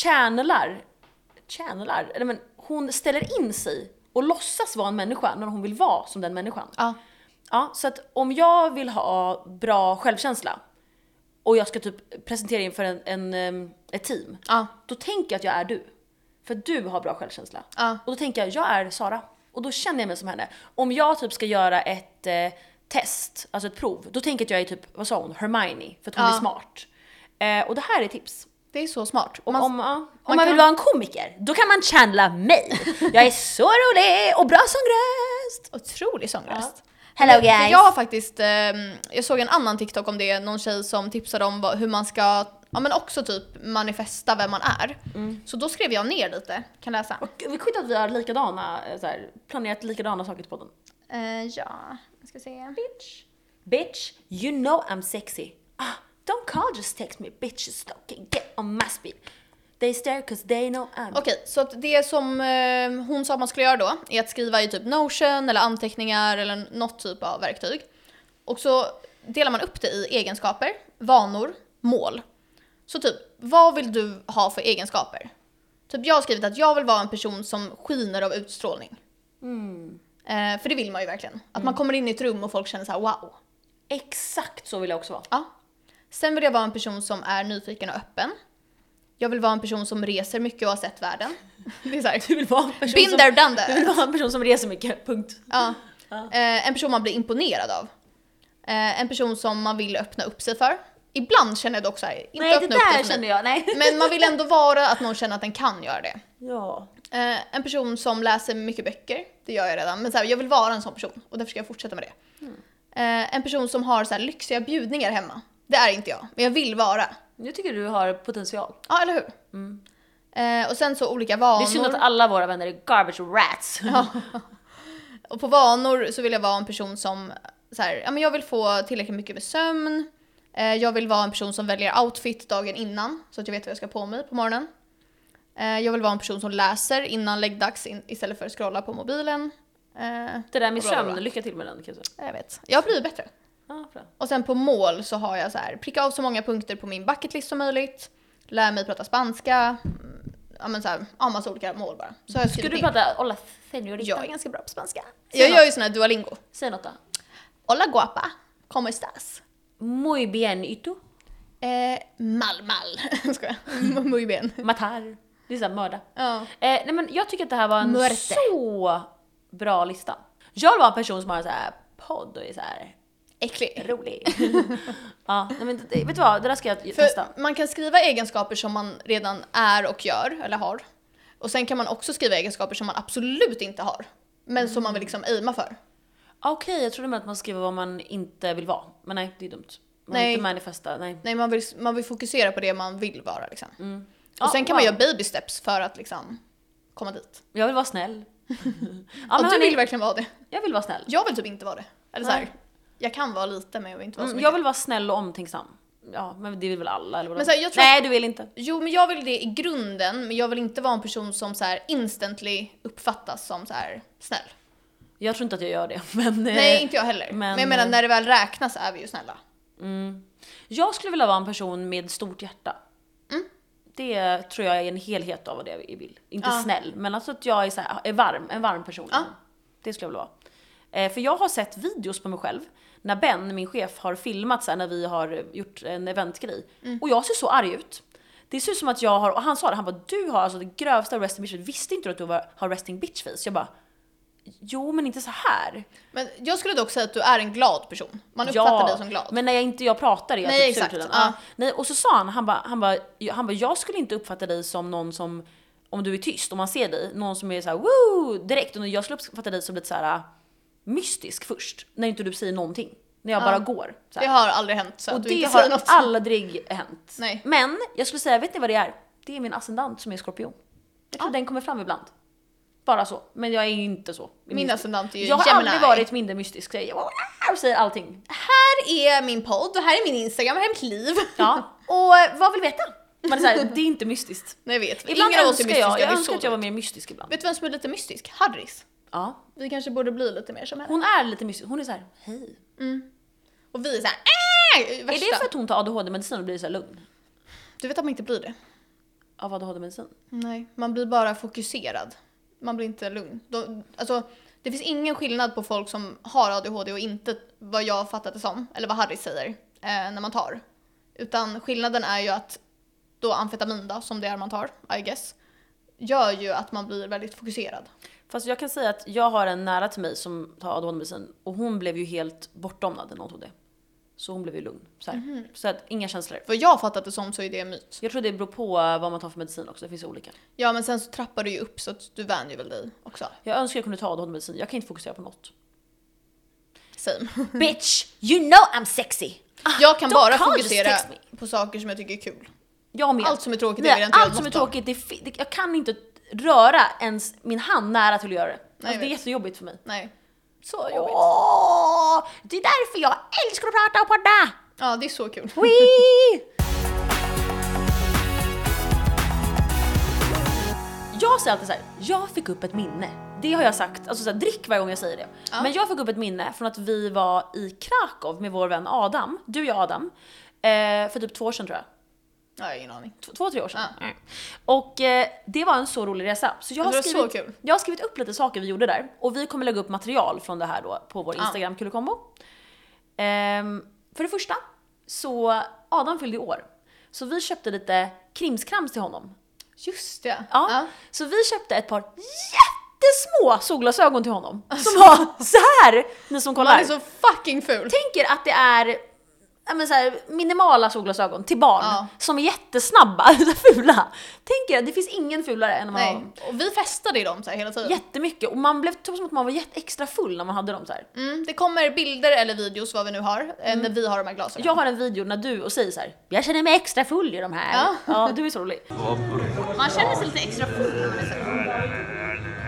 Speaker 2: channelar, channelar, eller men hon ställer in sig och låtsas vara en människa när hon vill vara som den människan.
Speaker 1: Ja.
Speaker 2: Ja, så att om jag vill ha bra självkänsla och jag ska typ presentera inför en, en, em, ett team,
Speaker 1: Ja.
Speaker 2: då tänker jag att jag är du. För att du har bra självkänsla.
Speaker 1: Ja.
Speaker 2: Och då tänker jag, jag är Sara. Och då känner jag mig som henne. Om jag typ ska göra ett eh, test, alltså ett prov, då tänker jag att jag är typ, vad sa hon, Hermione, för att hon
Speaker 1: Ja.
Speaker 2: är smart. Eh, och det här är tips.
Speaker 1: Det är så smart.
Speaker 2: Och
Speaker 1: Man-
Speaker 2: om, ja, om
Speaker 1: man
Speaker 2: man,
Speaker 1: kan-
Speaker 2: vill vara en komiker, då kan man chandla mig. jag är så rolig och bra sångröst.
Speaker 1: Otrolig sångröst.
Speaker 2: Hello,
Speaker 1: Men- för
Speaker 2: guys.
Speaker 1: Jag har faktiskt, ehm, jag såg en annan TikTok om det, någon tjej som tipsade om vad, hur man ska, ja men också typ manifesta vem man är. Så då skrev jag ner lite, kan läsa.
Speaker 2: Och vi skiter att vi har likadana, eh, så här, planerat likadana saker till podden.
Speaker 1: Eh, ja, jag ska se.
Speaker 2: Bitch. Bitch, you know I'm sexy. Ah, don't call, just text me. Bitches don't can get on my speed. They stare cause they know I'm...
Speaker 1: Okej, så att det som eh, hon sa att man skulle göra då är att skriva i typ notion eller anteckningar eller något typ av verktyg. Och så delar man upp det i egenskaper, vanor, mål. Så typ, vad vill du ha för egenskaper? Typ jag har skrivit att jag vill vara en person som skiner av utstrålning. Eh, för det vill man ju verkligen. Att man kommer in i ett rum och folk känner så här: wow.
Speaker 2: Exakt så vill jag också vara.
Speaker 1: Ja. Sen vill jag vara en person som är nyfiken och öppen. Jag vill vara en person som reser mycket och har sett världen. [LAUGHS] Det är så här,
Speaker 2: Du vill vara en person
Speaker 1: Been
Speaker 2: som...
Speaker 1: there,
Speaker 2: [LAUGHS]
Speaker 1: done
Speaker 2: Du
Speaker 1: that.
Speaker 2: vill vara en person som reser mycket, punkt.
Speaker 1: Ja. Eh, en person man blir imponerad av. Eh, en person som man vill öppna upp sig för. Ibland känner jag dock såhär, inte
Speaker 2: Nej, det
Speaker 1: öppna upp dig
Speaker 2: där
Speaker 1: för mig.
Speaker 2: kände jag, nej.
Speaker 1: Men man vill ändå vara att någon känner att den kan göra det.
Speaker 2: Ja.
Speaker 1: Eh, en person som läser mycket böcker, det gör jag redan, men så här, jag vill vara en sån person och därför ska jag fortsätta med det. Eh, en person som har så här, lyxiga bjudningar hemma, det är inte jag, men jag vill vara.
Speaker 2: Jag tycker du har potential.
Speaker 1: Ja, eller hur? Eh, och sen så olika vanor.
Speaker 2: Mm. Det är synd att alla våra vänner är garbage rats.
Speaker 1: Ja. Och på vanor så vill jag vara en person som, så här, ja men jag vill få tillräckligt mycket med sömn. Eh, jag vill vara en person som väljer outfit dagen innan så att jag vet vad jag ska på mig på morgonen. Eh, jag vill vara en person som läser innan läggdags in, istället för att scrolla på mobilen. Eh,
Speaker 2: Det där med
Speaker 1: Bra, bra, bra.
Speaker 2: sömn, lycka till med den kanske.
Speaker 1: jag vet, jag blir bättre.
Speaker 2: Ja, bra.
Speaker 1: Och sen på mål så har jag så här, pricka av så många punkter på min bucketlist som möjligt. Lär mig prata spanska. mm, Ja men så här, ja massa olika mål bara. Så har jag
Speaker 2: Ska
Speaker 1: skrivit
Speaker 2: du
Speaker 1: in.
Speaker 2: prata Ola Senorita?
Speaker 1: Jag är ganska bra på spanska.
Speaker 2: Säg
Speaker 1: Jag
Speaker 2: något.
Speaker 1: gör ju sån här Duolingo.
Speaker 2: Säg något då.
Speaker 1: Hola guapa, ¿cómo estás?
Speaker 2: Muy bien y tú?
Speaker 1: Eh, mal [LAUGHS] mal. Skojar. [LAUGHS]
Speaker 2: Mm.
Speaker 1: M- Muy bien.
Speaker 2: Matar. Det är såhär mörda.
Speaker 1: Ja.
Speaker 2: Eh, nej men jag tycker att det här var en
Speaker 1: Mörte.
Speaker 2: så bra lista. Jag vill vara en person som har en sån här podd och är såhär
Speaker 1: Äcklig. [LAUGHS]
Speaker 2: rolig. ja, nej men det, vet du vad? Det där ska jag testa.
Speaker 1: För Eh, man kan skriva egenskaper som man redan är och gör, eller har. Och sen kan man också skriva egenskaper som man absolut inte har. Men som
Speaker 2: Mm.
Speaker 1: man vill liksom aima för.
Speaker 2: Ah, Okej, jag trodde med att man skriver vad man inte vill vara. Men nej, det är dumt. Man
Speaker 1: Nej.
Speaker 2: vill inte manifesta, nej.
Speaker 1: Nej, man vill, man vill fokusera på det man vill vara liksom.
Speaker 2: Mm. Ja,
Speaker 1: Och sen kan
Speaker 2: Ah, wow.
Speaker 1: man göra baby steps för att liksom komma dit.
Speaker 2: Jag vill
Speaker 1: [LAUGHS]
Speaker 2: vara snäll. ja,
Speaker 1: och
Speaker 2: men
Speaker 1: du
Speaker 2: hörni,
Speaker 1: vill verkligen vara det.
Speaker 2: Jag vill vara snäll.
Speaker 1: Jag vill typ inte vara det. Eller så
Speaker 2: Nej.
Speaker 1: här, jag kan vara lite men jag vill inte vara så
Speaker 2: Mm,
Speaker 1: mycket.
Speaker 2: jag vill vara snäll och omtänksam. Ja, men det vill väl alla? Eller vadå?
Speaker 1: Men så här, jag tror
Speaker 2: Nej, du vill inte.
Speaker 1: Jo, men jag vill det i grunden, men jag vill inte vara en person som så här instantly uppfattas som så här snäll.
Speaker 2: Jag tror inte att jag gör det. [LAUGHS] Men,
Speaker 1: Nej, inte jag heller.
Speaker 2: Eh, men-
Speaker 1: Men, jag menar, när det väl räknas är vi ju snälla.
Speaker 2: Mm. Jag skulle vilja vara en person med stort hjärta.
Speaker 1: Mm.
Speaker 2: Det tror jag är en helhet av vad det jag vill. Inte
Speaker 1: Ja.
Speaker 2: snäll, men alltså att jag är, så här, är varm, en varm person.
Speaker 1: Ja.
Speaker 2: Det skulle jag vilja vara. Eh, för jag har sett videos på mig själv när Ben, min chef, har filmat så här, när vi har gjort en eventgrej.
Speaker 1: Mm.
Speaker 2: Och jag ser så arg ut. Det ser ut som att jag har, och han sa det, han bara du har alltså det grövsta resting bitch face. Visste inte du att du var- har resting bitch face? Jag bara, jo men inte så här.
Speaker 1: Men jag skulle dock säga att du är en glad person. Man uppfattar dig som glad.
Speaker 2: Men när jag inte jag pratar är jag
Speaker 1: Nej,
Speaker 2: typ sur
Speaker 1: exakt.
Speaker 2: till den.
Speaker 1: Ja.
Speaker 2: Ja. Nej, och så sa han, han bara, han bara, han bara, jag skulle inte uppfatta dig som någon som, om du är tyst, om man ser dig, någon som är så här woo direkt. Och jag skulle uppfatta dig som lite så här ah, mystisk först, när inte du säger någonting. När jag bara går. Så
Speaker 1: Det
Speaker 2: här.
Speaker 1: har aldrig hänt så
Speaker 2: Och
Speaker 1: att du
Speaker 2: det
Speaker 1: inte
Speaker 2: har
Speaker 1: säger något.
Speaker 2: aldrig hänt.
Speaker 1: Nej.
Speaker 2: Men jag skulle säga, vet ni vad det är? Det är min ascendant som är skorpion. Jag tror den kommer fram ibland. Bara så. Men jag är ju inte så.
Speaker 1: Min ascendant är ju
Speaker 2: Jag har
Speaker 1: Gemini.
Speaker 2: aldrig varit mindre mystisk. Så Jag jag säger allting.
Speaker 1: Här är min podd och här är min Instagram, här är mitt liv.
Speaker 2: Ja, och eh, vad vill veta? Man är så här, det är inte mystiskt.
Speaker 1: [LAUGHS] Nej, jag vet.
Speaker 2: [LAUGHS] Ibland
Speaker 1: Ingen av oss är
Speaker 2: önskar
Speaker 1: mystiska.
Speaker 2: jag,
Speaker 1: det
Speaker 2: jag
Speaker 1: är
Speaker 2: önskar
Speaker 1: så
Speaker 2: att jag var
Speaker 1: dåligt.
Speaker 2: mer mystisk ibland.
Speaker 1: Vet du vem som är lite mystisk? Harris.
Speaker 2: Ja.
Speaker 1: Vi kanske borde bli lite mer som henne.
Speaker 2: Hon är lite mystisk, hon är så här, hej.
Speaker 1: Och vi är såhär äh,
Speaker 2: Är
Speaker 1: värsta.
Speaker 2: det för att hon tar ADHD-medicin och blir så här lugn?
Speaker 1: Du vet att man inte blir det?
Speaker 2: Av ADHD-medicin?
Speaker 1: Nej, man blir bara fokuserad. Man blir inte lugn. De, alltså, det finns ingen skillnad på folk som har ADHD och inte, vad jag har fattat det som, eller vad Harry säger, eh, när man tar. Utan skillnaden är ju att då amfetamin då, som det är man tar, I guess, gör ju att man blir väldigt fokuserad.
Speaker 2: Fast jag kan säga att jag har en nära till mig som tar ADHD-medicin och hon blev ju helt bortdomnad när hon tog det. Så hon blev ju lugn. Så, här. så att inga känslor.
Speaker 1: Vad jag har fattat det som så är det en myt.
Speaker 2: Jag tror det beror på eh, vad man tar för medicin också, det finns olika.
Speaker 1: Ja men sen så trappar du ju upp så att du vänjer väl dig också.
Speaker 2: Jag önskar jag kunde ta ADHD-medicin, jag kan inte fokusera på något.
Speaker 1: Same. [LAUGHS]
Speaker 2: Bitch, you know I'm sexy!
Speaker 1: Jag kan
Speaker 2: Ah, don't
Speaker 1: bara
Speaker 2: call, just
Speaker 1: fokusera
Speaker 2: text
Speaker 1: på saker som jag tycker är kul.
Speaker 2: Jag med.
Speaker 1: Allt som är tråkigt
Speaker 2: Nej,
Speaker 1: är vill jag inte göra
Speaker 2: allt som är
Speaker 1: något av.
Speaker 2: tråkigt, det, fi- det, jag kan inte röra ens min hand nära till att göra det. alltså,
Speaker 1: jag
Speaker 2: det är
Speaker 1: vet.
Speaker 2: jättejobbigt för mig.
Speaker 1: Nej. Så jobbigt.
Speaker 2: Åh, det är därför jag älskar att prata och podda!
Speaker 1: Ja, det är så kul.
Speaker 2: Wee! [LAUGHS] Jag säger alltid så här, jag fick upp ett minne. Det har jag sagt, alltså så här, drick varje gång jag säger det.
Speaker 1: Ja.
Speaker 2: Men jag fick upp ett minne från att vi var i Krakow med vår vän Adam, du och jag Adam, eh, för typ två år sedan tror jag.
Speaker 1: Ja, jag har ingen aning.
Speaker 2: T- två, tre år sedan. Mm. Och eh, det var en så rolig resa. Så jag, har
Speaker 1: Det var så
Speaker 2: skrivit,
Speaker 1: kul.
Speaker 2: jag har skrivit upp lite saker vi gjorde där. Och vi kommer lägga upp material från det här då på vår Instagram Kulekombo. Ehm, för det första, så Adam fyllde i år. Så vi köpte lite krimskrams till honom.
Speaker 1: Just det.
Speaker 2: Ja. Så vi köpte ett par jättesmå solglasögon till
Speaker 1: Alltså.
Speaker 2: honom. Som var så här, ni som kollar.
Speaker 1: Man är så fucking ful.
Speaker 2: Tänk er att det är ja, men så här, minimala solglasögon till barn
Speaker 1: Ja.
Speaker 2: som är jättesnabba, [LAUGHS] så här fula. Tänk er, det finns ingen fulare än om man
Speaker 1: Nej.
Speaker 2: har
Speaker 1: Och vi festade i dem så här hela tiden.
Speaker 2: jättemycket och man blev, det var som att man var jätte- extra full när man hade dem så här.
Speaker 1: Mm, det kommer bilder eller videos, vad vi nu har, eh,
Speaker 2: Mm.
Speaker 1: när vi har de här glasögonen.
Speaker 2: Jag har en video när du och säger så här, jag känner mig extra full i de här.
Speaker 1: Ja.
Speaker 2: du är så rolig.
Speaker 1: Man känner sig lite extra full när man är så här.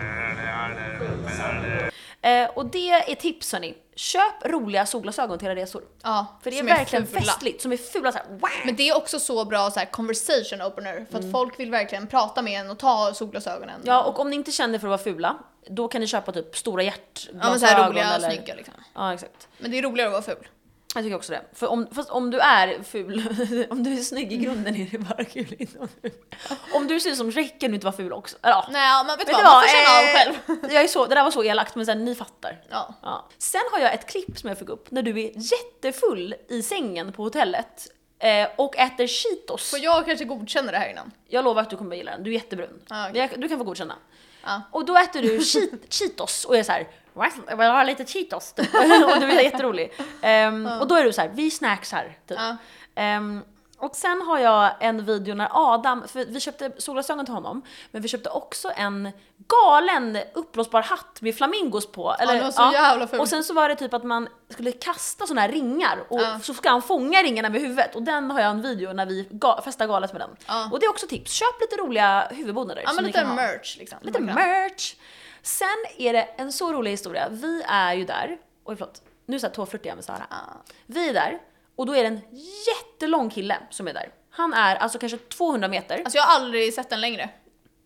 Speaker 2: Eh, och det är tips hörni. Köp roliga solglasögon till era resor.
Speaker 1: Ja,
Speaker 2: För det är
Speaker 1: som
Speaker 2: verkligen
Speaker 1: fula.
Speaker 2: festligt, som är fula så här. Wow.
Speaker 1: Men det är också så bra så här, conversation opener, för att folk vill verkligen prata med en och ta solglasögonen.
Speaker 2: Mm. Ja, och om ni inte känner för att vara fula, då kan ni köpa typ stora hjärtglasögon.
Speaker 1: Ja, men så här roliga
Speaker 2: eller-
Speaker 1: och snygga liksom.
Speaker 2: Ja, exakt.
Speaker 1: Men det är roligare att vara ful.
Speaker 2: Jag tycker också det. För om, fast om du är ful, [LAUGHS] om du är snygg i
Speaker 1: Mm.
Speaker 2: grunden är det bara kul inomhus. Om du ser ut som Drake kan du inte vara ful också. Eller, Ja.
Speaker 1: Nej, men vet du vad?
Speaker 2: Vet du
Speaker 1: Man
Speaker 2: vad?
Speaker 1: får känna av
Speaker 2: Eh,
Speaker 1: själv.
Speaker 2: Jag är så, det där var så elakt men sen, ni fattar.
Speaker 1: Ja.
Speaker 2: Ja. Sen har jag ett klipp som jag fick upp när du är jättefull i sängen på hotellet eh, och äter Cheetos.
Speaker 1: Får jag kanske godkänna det här innan?
Speaker 2: Jag lovar att du kommer gilla den, du är jättebrun.
Speaker 1: Ja, okej.
Speaker 2: Men jag, du kan få godkänna.
Speaker 1: Ja.
Speaker 2: Och då äter du cheat,
Speaker 1: [LAUGHS]
Speaker 2: Cheetos och är så här. "What? Jag vill ha lite Cheetos. typ. [LAUGHS] och du är jätterolig. Ehm, Och då är du så här, vi snacksar. Typ.
Speaker 1: Ja.
Speaker 2: Ehm, och sen har jag en video när Adam, för vi köpte solglasögon till honom, men vi köpte också en galen uppblåsbar hatt med flamingos på. Eller,
Speaker 1: den var så jävla ful.
Speaker 2: Och sen så var det typ att man skulle kasta såna här ringar och
Speaker 1: Ja.
Speaker 2: så ska han fånga ringarna med huvudet och den har jag en video när vi ga- festar galet med den.
Speaker 1: Ja.
Speaker 2: Och det är också tips, köp lite roliga huvudbonader.
Speaker 1: Ja
Speaker 2: som
Speaker 1: men
Speaker 2: ni
Speaker 1: lite
Speaker 2: kan ha.
Speaker 1: merch liksom.
Speaker 2: Lite
Speaker 1: Man kan-
Speaker 2: merch! Sen är det en så rolig historia. Vi är ju där, oj förlåt, nu såhär tårtflörtig jag med Sara. Vi är där och då är det en jättelång kille som är där. Han är alltså kanske 200 meter.
Speaker 1: Alltså jag har aldrig sett den längre.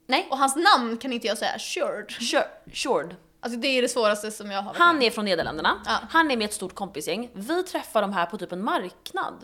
Speaker 2: Nej.
Speaker 1: Och hans namn kan inte jag säga, Shurd.
Speaker 2: Kör, Shord.
Speaker 1: Alltså det är det svåraste som jag har varit med om.
Speaker 2: Han är från Nederländerna.
Speaker 1: Ja.
Speaker 2: Han är med ett stort kompisgäng. Vi träffar de här på typ en marknad.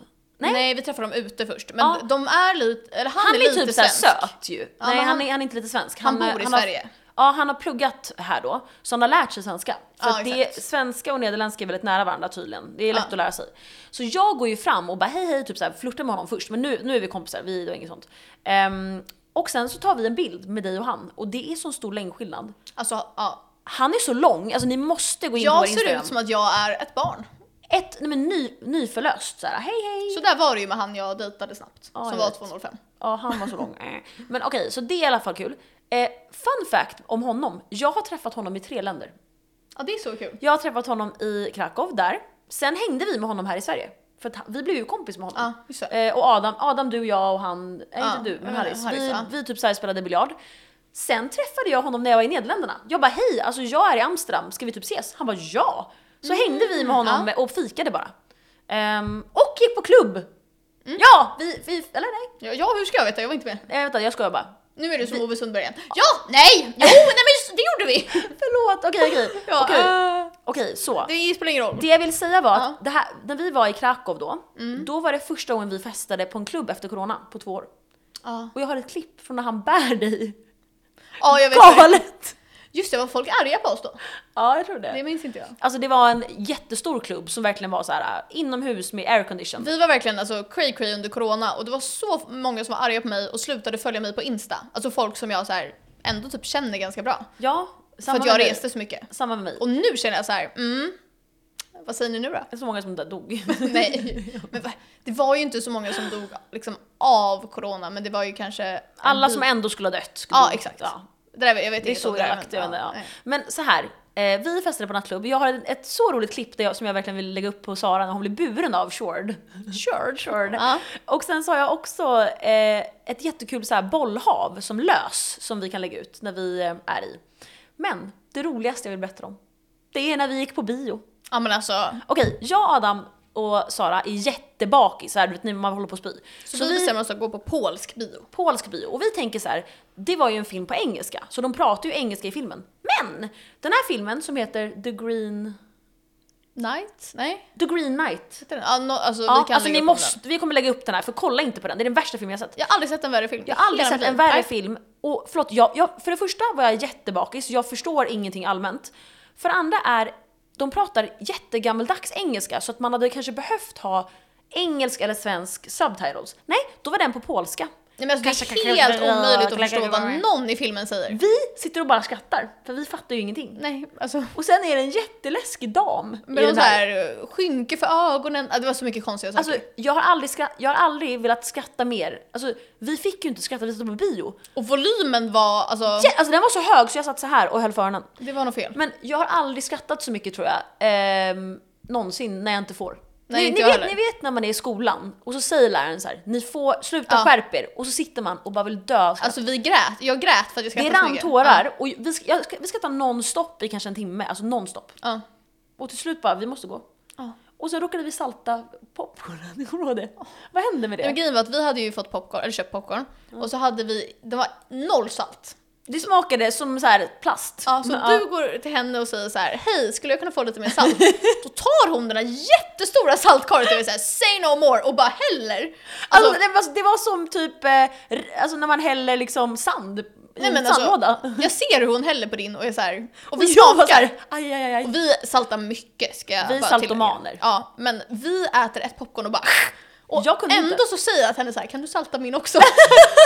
Speaker 2: Nej,
Speaker 1: Nej. vi träffar dem ute först. Men
Speaker 2: Ja.
Speaker 1: de är lite, eller han,
Speaker 2: han
Speaker 1: är,
Speaker 2: är,
Speaker 1: lite
Speaker 2: typ såhär
Speaker 1: svensk.
Speaker 2: söt ju. Nej,
Speaker 1: men
Speaker 2: han,
Speaker 1: han-
Speaker 2: är, han är inte lite svensk.
Speaker 1: Han
Speaker 2: eh,
Speaker 1: bor i
Speaker 2: har-
Speaker 1: Sverige.
Speaker 2: Ja, han har pluggat här då, så han har lärt sig svenska. För
Speaker 1: Ja,
Speaker 2: att det,
Speaker 1: exakt.
Speaker 2: svenska och nederländska är väldigt nära varandra tydligen. Det är lätt
Speaker 1: Ja.
Speaker 2: att lära sig. Så jag går ju fram och bara hej hej, typ så här, flörtar med honom först. Men nu, nu är vi kompisar, vi och inget sånt. Ehm, och sen så tar vi en bild med dig och han och det är så stor längdskillnad.
Speaker 1: Alltså ja. Han
Speaker 2: Han är så lång, alltså ni måste gå in på vår
Speaker 1: jag ser
Speaker 2: Instagram.
Speaker 1: ut som att jag är ett barn.
Speaker 2: Ett nej, men ny, nyförlöst såhär, hej hej.
Speaker 1: Så där var det ju med han jag dejtade snabbt.
Speaker 2: Ja, jag
Speaker 1: som var
Speaker 2: vet.
Speaker 1: 205.
Speaker 2: Ja, han var så lång. Eh. Men okej, så det är i alla fall kul. Eh, fun fact om honom. Jag har träffat honom i tre länder.
Speaker 1: Ja det är så kul.
Speaker 2: Jag har träffat honom i Krakow där. Sen hängde vi med honom här i Sverige. För att han, vi blev ju kompis med honom.
Speaker 1: Ja, just det.
Speaker 2: Eh, och Adam, Adam, du, jag och han, nej
Speaker 1: Ja,
Speaker 2: inte du, men
Speaker 1: jag menar
Speaker 2: Harris.
Speaker 1: Harris,
Speaker 2: vi,
Speaker 1: ja.
Speaker 2: vi typ så här spelade biljard. Sen träffade jag honom när jag var i Nederländerna. Jag bara hej, alltså jag är i Amsterdam, ska vi typ ses? Han bara ja! Så
Speaker 1: Mm,
Speaker 2: hängde vi med honom och fikade bara. Ehm, och gick på klubb!
Speaker 1: Mm.
Speaker 2: Ja! Vi, vi, eller nej,
Speaker 1: Ja, ja hur ska jag veta? Jag var inte med.
Speaker 2: eh, vänta jag skojar bara.
Speaker 1: Nu är du som Ove Sundberg igen. Ja! Nej! Jo! Nej men just- det gjorde vi!
Speaker 2: Förlåt, okej okej.
Speaker 1: [LAUGHS] Ja,
Speaker 2: okej.
Speaker 1: eh.
Speaker 2: Okej, så.
Speaker 1: Det spelar ingen roll.
Speaker 2: Det jag vill säga var att
Speaker 1: Ja. Mm.
Speaker 2: det här, när vi var i Krakow då, då var det första gången vi festade på en klubb efter corona på två år.
Speaker 1: Ja,
Speaker 2: Och jag har ett klipp från när han bär dig.
Speaker 1: ja jag vet vad det-
Speaker 2: Galet!
Speaker 1: Just det, var folk arga på oss då?
Speaker 2: Ja, jag tror
Speaker 1: Det
Speaker 2: det.
Speaker 1: minns inte jag.
Speaker 2: Alltså det var en jättestor klubb som verkligen var så här äh, inomhus med aircondition.
Speaker 1: Vi var verkligen alltså cray cray under corona och det var så många som var arga på mig och slutade följa mig på Insta. Alltså folk som jag så här ändå typ känner ganska bra.
Speaker 2: Ja,
Speaker 1: För
Speaker 2: samma
Speaker 1: att jag
Speaker 2: med mig.
Speaker 1: reste så mycket.
Speaker 2: Samma med mig.
Speaker 1: Och nu känner jag så här, mm, vad säger ni nu
Speaker 2: [LAUGHS]
Speaker 1: då?
Speaker 2: Det är så många som
Speaker 1: [LAUGHS]
Speaker 2: där dog.
Speaker 1: Nej, men va- det var ju inte så många som dog liksom, av corona men det var ju kanske... en
Speaker 2: Alla
Speaker 1: bit-
Speaker 2: som ändå skulle ha dött. Skulle
Speaker 1: Ja
Speaker 2: dö.
Speaker 1: exakt.
Speaker 2: Ja.
Speaker 1: Det, där, jag vet
Speaker 2: Det är
Speaker 1: inget om
Speaker 2: så
Speaker 1: det där,
Speaker 2: elakt, jag
Speaker 1: men,
Speaker 2: vet inte, ja.
Speaker 1: nej.
Speaker 2: Men så här, eh, vi festade på nattklubb. Jag har ett så roligt klipp där jag, som jag verkligen vill lägga upp på Sara när hon blir buren av Shord. [LAUGHS] Shord? Shord.
Speaker 1: Ja.
Speaker 2: Och sen så har jag också eh, ett jättekul så här bollhav som lös som vi kan lägga ut när vi eh, är i. Men det roligaste jag vill berätta om, det är när vi gick på bio.
Speaker 1: Ja men alltså,
Speaker 2: Okej, jag, Adam och Sara är jättebakis, så här, du vet, när man håller på att spy.
Speaker 1: så, vi bestämmer oss att gå på polsk bio.
Speaker 2: polsk bio. Och vi tänker så här, det var ju en film på engelska, så de pratar ju engelska i filmen. Men! Den här filmen som heter The Green...
Speaker 1: Night? Nej?
Speaker 2: The Green Knight.
Speaker 1: heter den? Ja, no, alltså
Speaker 2: Ja,
Speaker 1: vi kan lägga
Speaker 2: alltså ni
Speaker 1: upp den.
Speaker 2: måste, vi kommer lägga upp den här, för kolla inte på den, det är den värsta filmen jag sett.
Speaker 1: Jag har aldrig sett en värre film.
Speaker 2: Jag har aldrig
Speaker 1: Hela
Speaker 2: sett
Speaker 1: mitt
Speaker 2: en
Speaker 1: liv.
Speaker 2: värre
Speaker 1: Nej.
Speaker 2: film. Och förlåt, jag, jag, för det första var jag jättebakis, jag förstår ingenting allmänt. För det andra är, de pratar jättegammeldags engelska så att man hade kanske behövt ha engelsk eller svensk subtitles. Nej, då var den på polska.
Speaker 1: Nej, men alltså,
Speaker 2: Kanske-
Speaker 1: det är
Speaker 2: kanske-
Speaker 1: helt omöjligt att
Speaker 2: kanske-
Speaker 1: förstå vad
Speaker 2: kanske-
Speaker 1: någon i filmen säger.
Speaker 2: Vi sitter och bara skrattar, för vi fattar ju ingenting.
Speaker 1: Nej, alltså.
Speaker 2: Och sen är det en jätteläskig dam
Speaker 1: Men
Speaker 2: i
Speaker 1: de
Speaker 2: den här.
Speaker 1: där skynke för ögonen, Ah, det var så mycket konstiga saker.
Speaker 2: Alltså, jag har, aldrig skratt, jag har aldrig velat skratta mer. Alltså, vi fick ju inte skratta, vi satt på bio.
Speaker 1: och volymen var, alltså,
Speaker 2: Ja, Alltså, den var så hög så jag satt så här och höll för öronen.
Speaker 1: det var nog fel.
Speaker 2: Men jag har aldrig skrattat så mycket tror jag, ehm, någonsin när jag inte får.
Speaker 1: Nej,
Speaker 2: ni,
Speaker 1: inte jag
Speaker 2: ni, vet,
Speaker 1: heller.
Speaker 2: ni vet när man är i skolan och så säger läraren så här, ni får sluta
Speaker 1: Ja.
Speaker 2: skärp er och så sitter man och bara vill dö. av skratt.
Speaker 1: Alltså vi grät, jag grät för att jag
Speaker 2: det
Speaker 1: skrattade så
Speaker 2: rann
Speaker 1: mycket.
Speaker 2: tårar och vi, ska- jag, ska- vi skrattade nonstop i kanske en timme, alltså nonstop.
Speaker 1: Ja.
Speaker 2: Och till slut bara, vi måste gå.
Speaker 1: Ja.
Speaker 2: Och sen råkade vi salta popcornen, [LAUGHS] kommer du ihåg det? Vad hände med
Speaker 1: Nej, Men
Speaker 2: det?
Speaker 1: grejen var att vi hade ju fått popcorn, eller köpt popcorn, och så hade vi, det var noll salt.
Speaker 2: Det smakade som så här plast.
Speaker 1: Ja, så
Speaker 2: Men,
Speaker 1: du alltså- går till henne och säger så här: hej skulle jag kunna få lite mer [LAUGHS] salt? Då tar hon den där jättestora saltkorgen och säger say no more och bara häller.
Speaker 2: Alltså,
Speaker 1: Alltså,
Speaker 2: det, var, det var som typ, eh, r- alltså när man häller liksom sand i
Speaker 1: Nej,
Speaker 2: en
Speaker 1: men alltså-
Speaker 2: sandlåda.
Speaker 1: [LAUGHS] jag ser hur hon häller på din och är så här, och
Speaker 2: Och
Speaker 1: vi
Speaker 2: [LAUGHS] jag var
Speaker 1: smakar.
Speaker 2: såhär, aj, aj, aj, aj.
Speaker 1: Och vi saltar mycket ska jag
Speaker 2: Vi
Speaker 1: bara
Speaker 2: saltomaner.
Speaker 1: tillägga. Ja, men vi äter ett popcorn och bara och
Speaker 2: Jag kunde
Speaker 1: ändå
Speaker 2: inte.
Speaker 1: så säger jag till henne så här, kan du salta min
Speaker 2: [LAUGHS]
Speaker 1: också?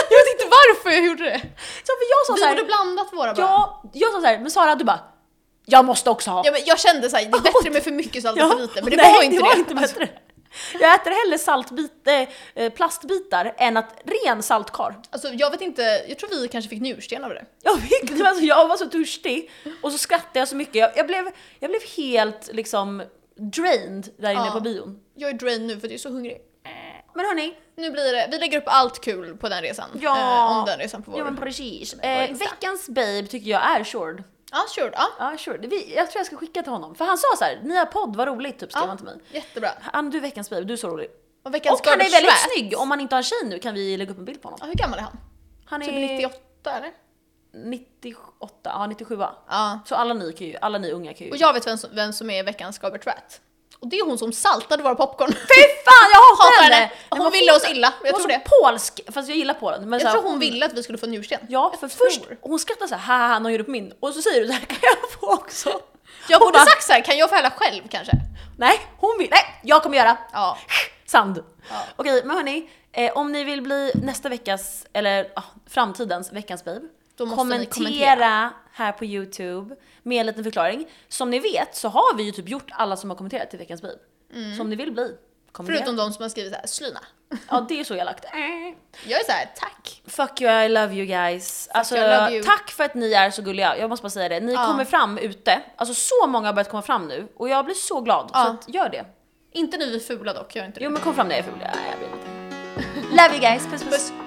Speaker 1: jag vet inte varför jag gjorde det.
Speaker 2: Så för jag sa
Speaker 1: Vi borde
Speaker 2: såhär,
Speaker 1: blandat våra bara.
Speaker 2: jag, jag sa såhär, men Sara du bara, jag måste också ha.
Speaker 1: Ja, men jag kände såhär, det är
Speaker 2: [LAUGHS]
Speaker 1: bättre med för mycket salt än för lite, men det
Speaker 2: nej,
Speaker 1: var inte
Speaker 2: det.
Speaker 1: det.
Speaker 2: Var inte bättre. Jag äter hellre saltbit, eh, eh, plastbitar än att ren saltkar.
Speaker 1: Alltså jag vet inte, jag tror vi kanske fick njursten av det.
Speaker 2: Jag, fick, det var så- jag var så törstig och så skrattade jag så mycket. Jag, jag, blev, jag blev helt liksom drained där inne
Speaker 1: Ja.
Speaker 2: på bion.
Speaker 1: Jag är drained nu för att jag är så hungrig.
Speaker 2: Men hörni,
Speaker 1: Nu blir det, vi lägger upp allt kul på den resan.
Speaker 2: Ja.
Speaker 1: Eh, om den resan på vår...
Speaker 2: ja
Speaker 1: Ja,
Speaker 2: men precis.
Speaker 1: Vår
Speaker 2: Eh,
Speaker 1: Insta.
Speaker 2: veckans babe tycker jag är Shord.
Speaker 1: sure. Ja,
Speaker 2: Ja, sure. Vi, jag tror jag ska skicka till honom. För han sa så här, nya podd, vad roligt, typ skrev
Speaker 1: Ja.
Speaker 2: han till mig.
Speaker 1: jättebra.
Speaker 2: Han, du är veckans babe, du är så rolig.
Speaker 1: Och veckans
Speaker 2: och han är
Speaker 1: Garbage
Speaker 2: väldigt
Speaker 1: Trash.
Speaker 2: snygg, om man inte har en tjej nu kan vi lägga upp en bild på honom.
Speaker 1: Ja, hur gammal är han?
Speaker 2: Han är
Speaker 1: Typ 98 eller?
Speaker 2: 98, ja 97
Speaker 1: Ja.
Speaker 2: Så alla ni, kan ju, alla ni unga kan ju...
Speaker 1: Och jag vet vem som, vem som är veckans Garbage Rat. Och det är hon som saltade våra popcorn.
Speaker 2: Fy fan jag hatar
Speaker 1: Hatar
Speaker 2: henne!
Speaker 1: henne.
Speaker 2: Nej,
Speaker 1: Hon
Speaker 2: vad
Speaker 1: ville
Speaker 2: hon-
Speaker 1: oss illa, jag
Speaker 2: hon
Speaker 1: tror
Speaker 2: var
Speaker 1: det.
Speaker 2: så polsk, fast jag gillar Polen. Men så
Speaker 1: Jag
Speaker 2: här,
Speaker 1: tror hon ville att vi skulle få njursten.
Speaker 2: Ja, för
Speaker 1: tror.
Speaker 2: först, hon skrattar så här, haha, någon gjorde på min. Och så säger du så här, [LAUGHS] kan jag få också?
Speaker 1: Jag
Speaker 2: Hon
Speaker 1: borde
Speaker 2: bara-
Speaker 1: sagt såhär, kan jag få hälla själv kanske?
Speaker 2: Nej, hon vill, nej, jag kommer göra.
Speaker 1: Ja.
Speaker 2: [LAUGHS] Sand.
Speaker 1: Ja.
Speaker 2: Okej, men hörni. Eh, om ni vill bli nästa veckas, eller ah, framtidens veckans babe.
Speaker 1: Då måste ni
Speaker 2: kommentera,
Speaker 1: kommentera.
Speaker 2: här på YouTube med en liten förklaring. Som ni vet så har vi ju typ gjort alla som har kommenterat till veckans babe. Så om ni vill bli, kommentera.
Speaker 1: Mm. Förutom de som har skrivit såhär, slyna.
Speaker 2: Ja, det är
Speaker 1: [LAUGHS]
Speaker 2: så elakt. Äh.
Speaker 1: Jag är såhär, tack.
Speaker 2: Fuck you, I love you guys. Alltså,
Speaker 1: you, I love you.
Speaker 2: Tack för att ni är så gulliga, jag måste bara säga det. Ni
Speaker 1: Ja.
Speaker 2: kommer fram ute, alltså så många har börjat komma fram nu och jag blir så glad.
Speaker 1: Ja.
Speaker 2: Så att, gör det.
Speaker 1: Inte nu vi är fula dock, gör inte det. [LAUGHS]
Speaker 2: Jo men kom fram när jag är ful. Ja, jag blir lite. Love you guys, puss puss.
Speaker 1: Puss.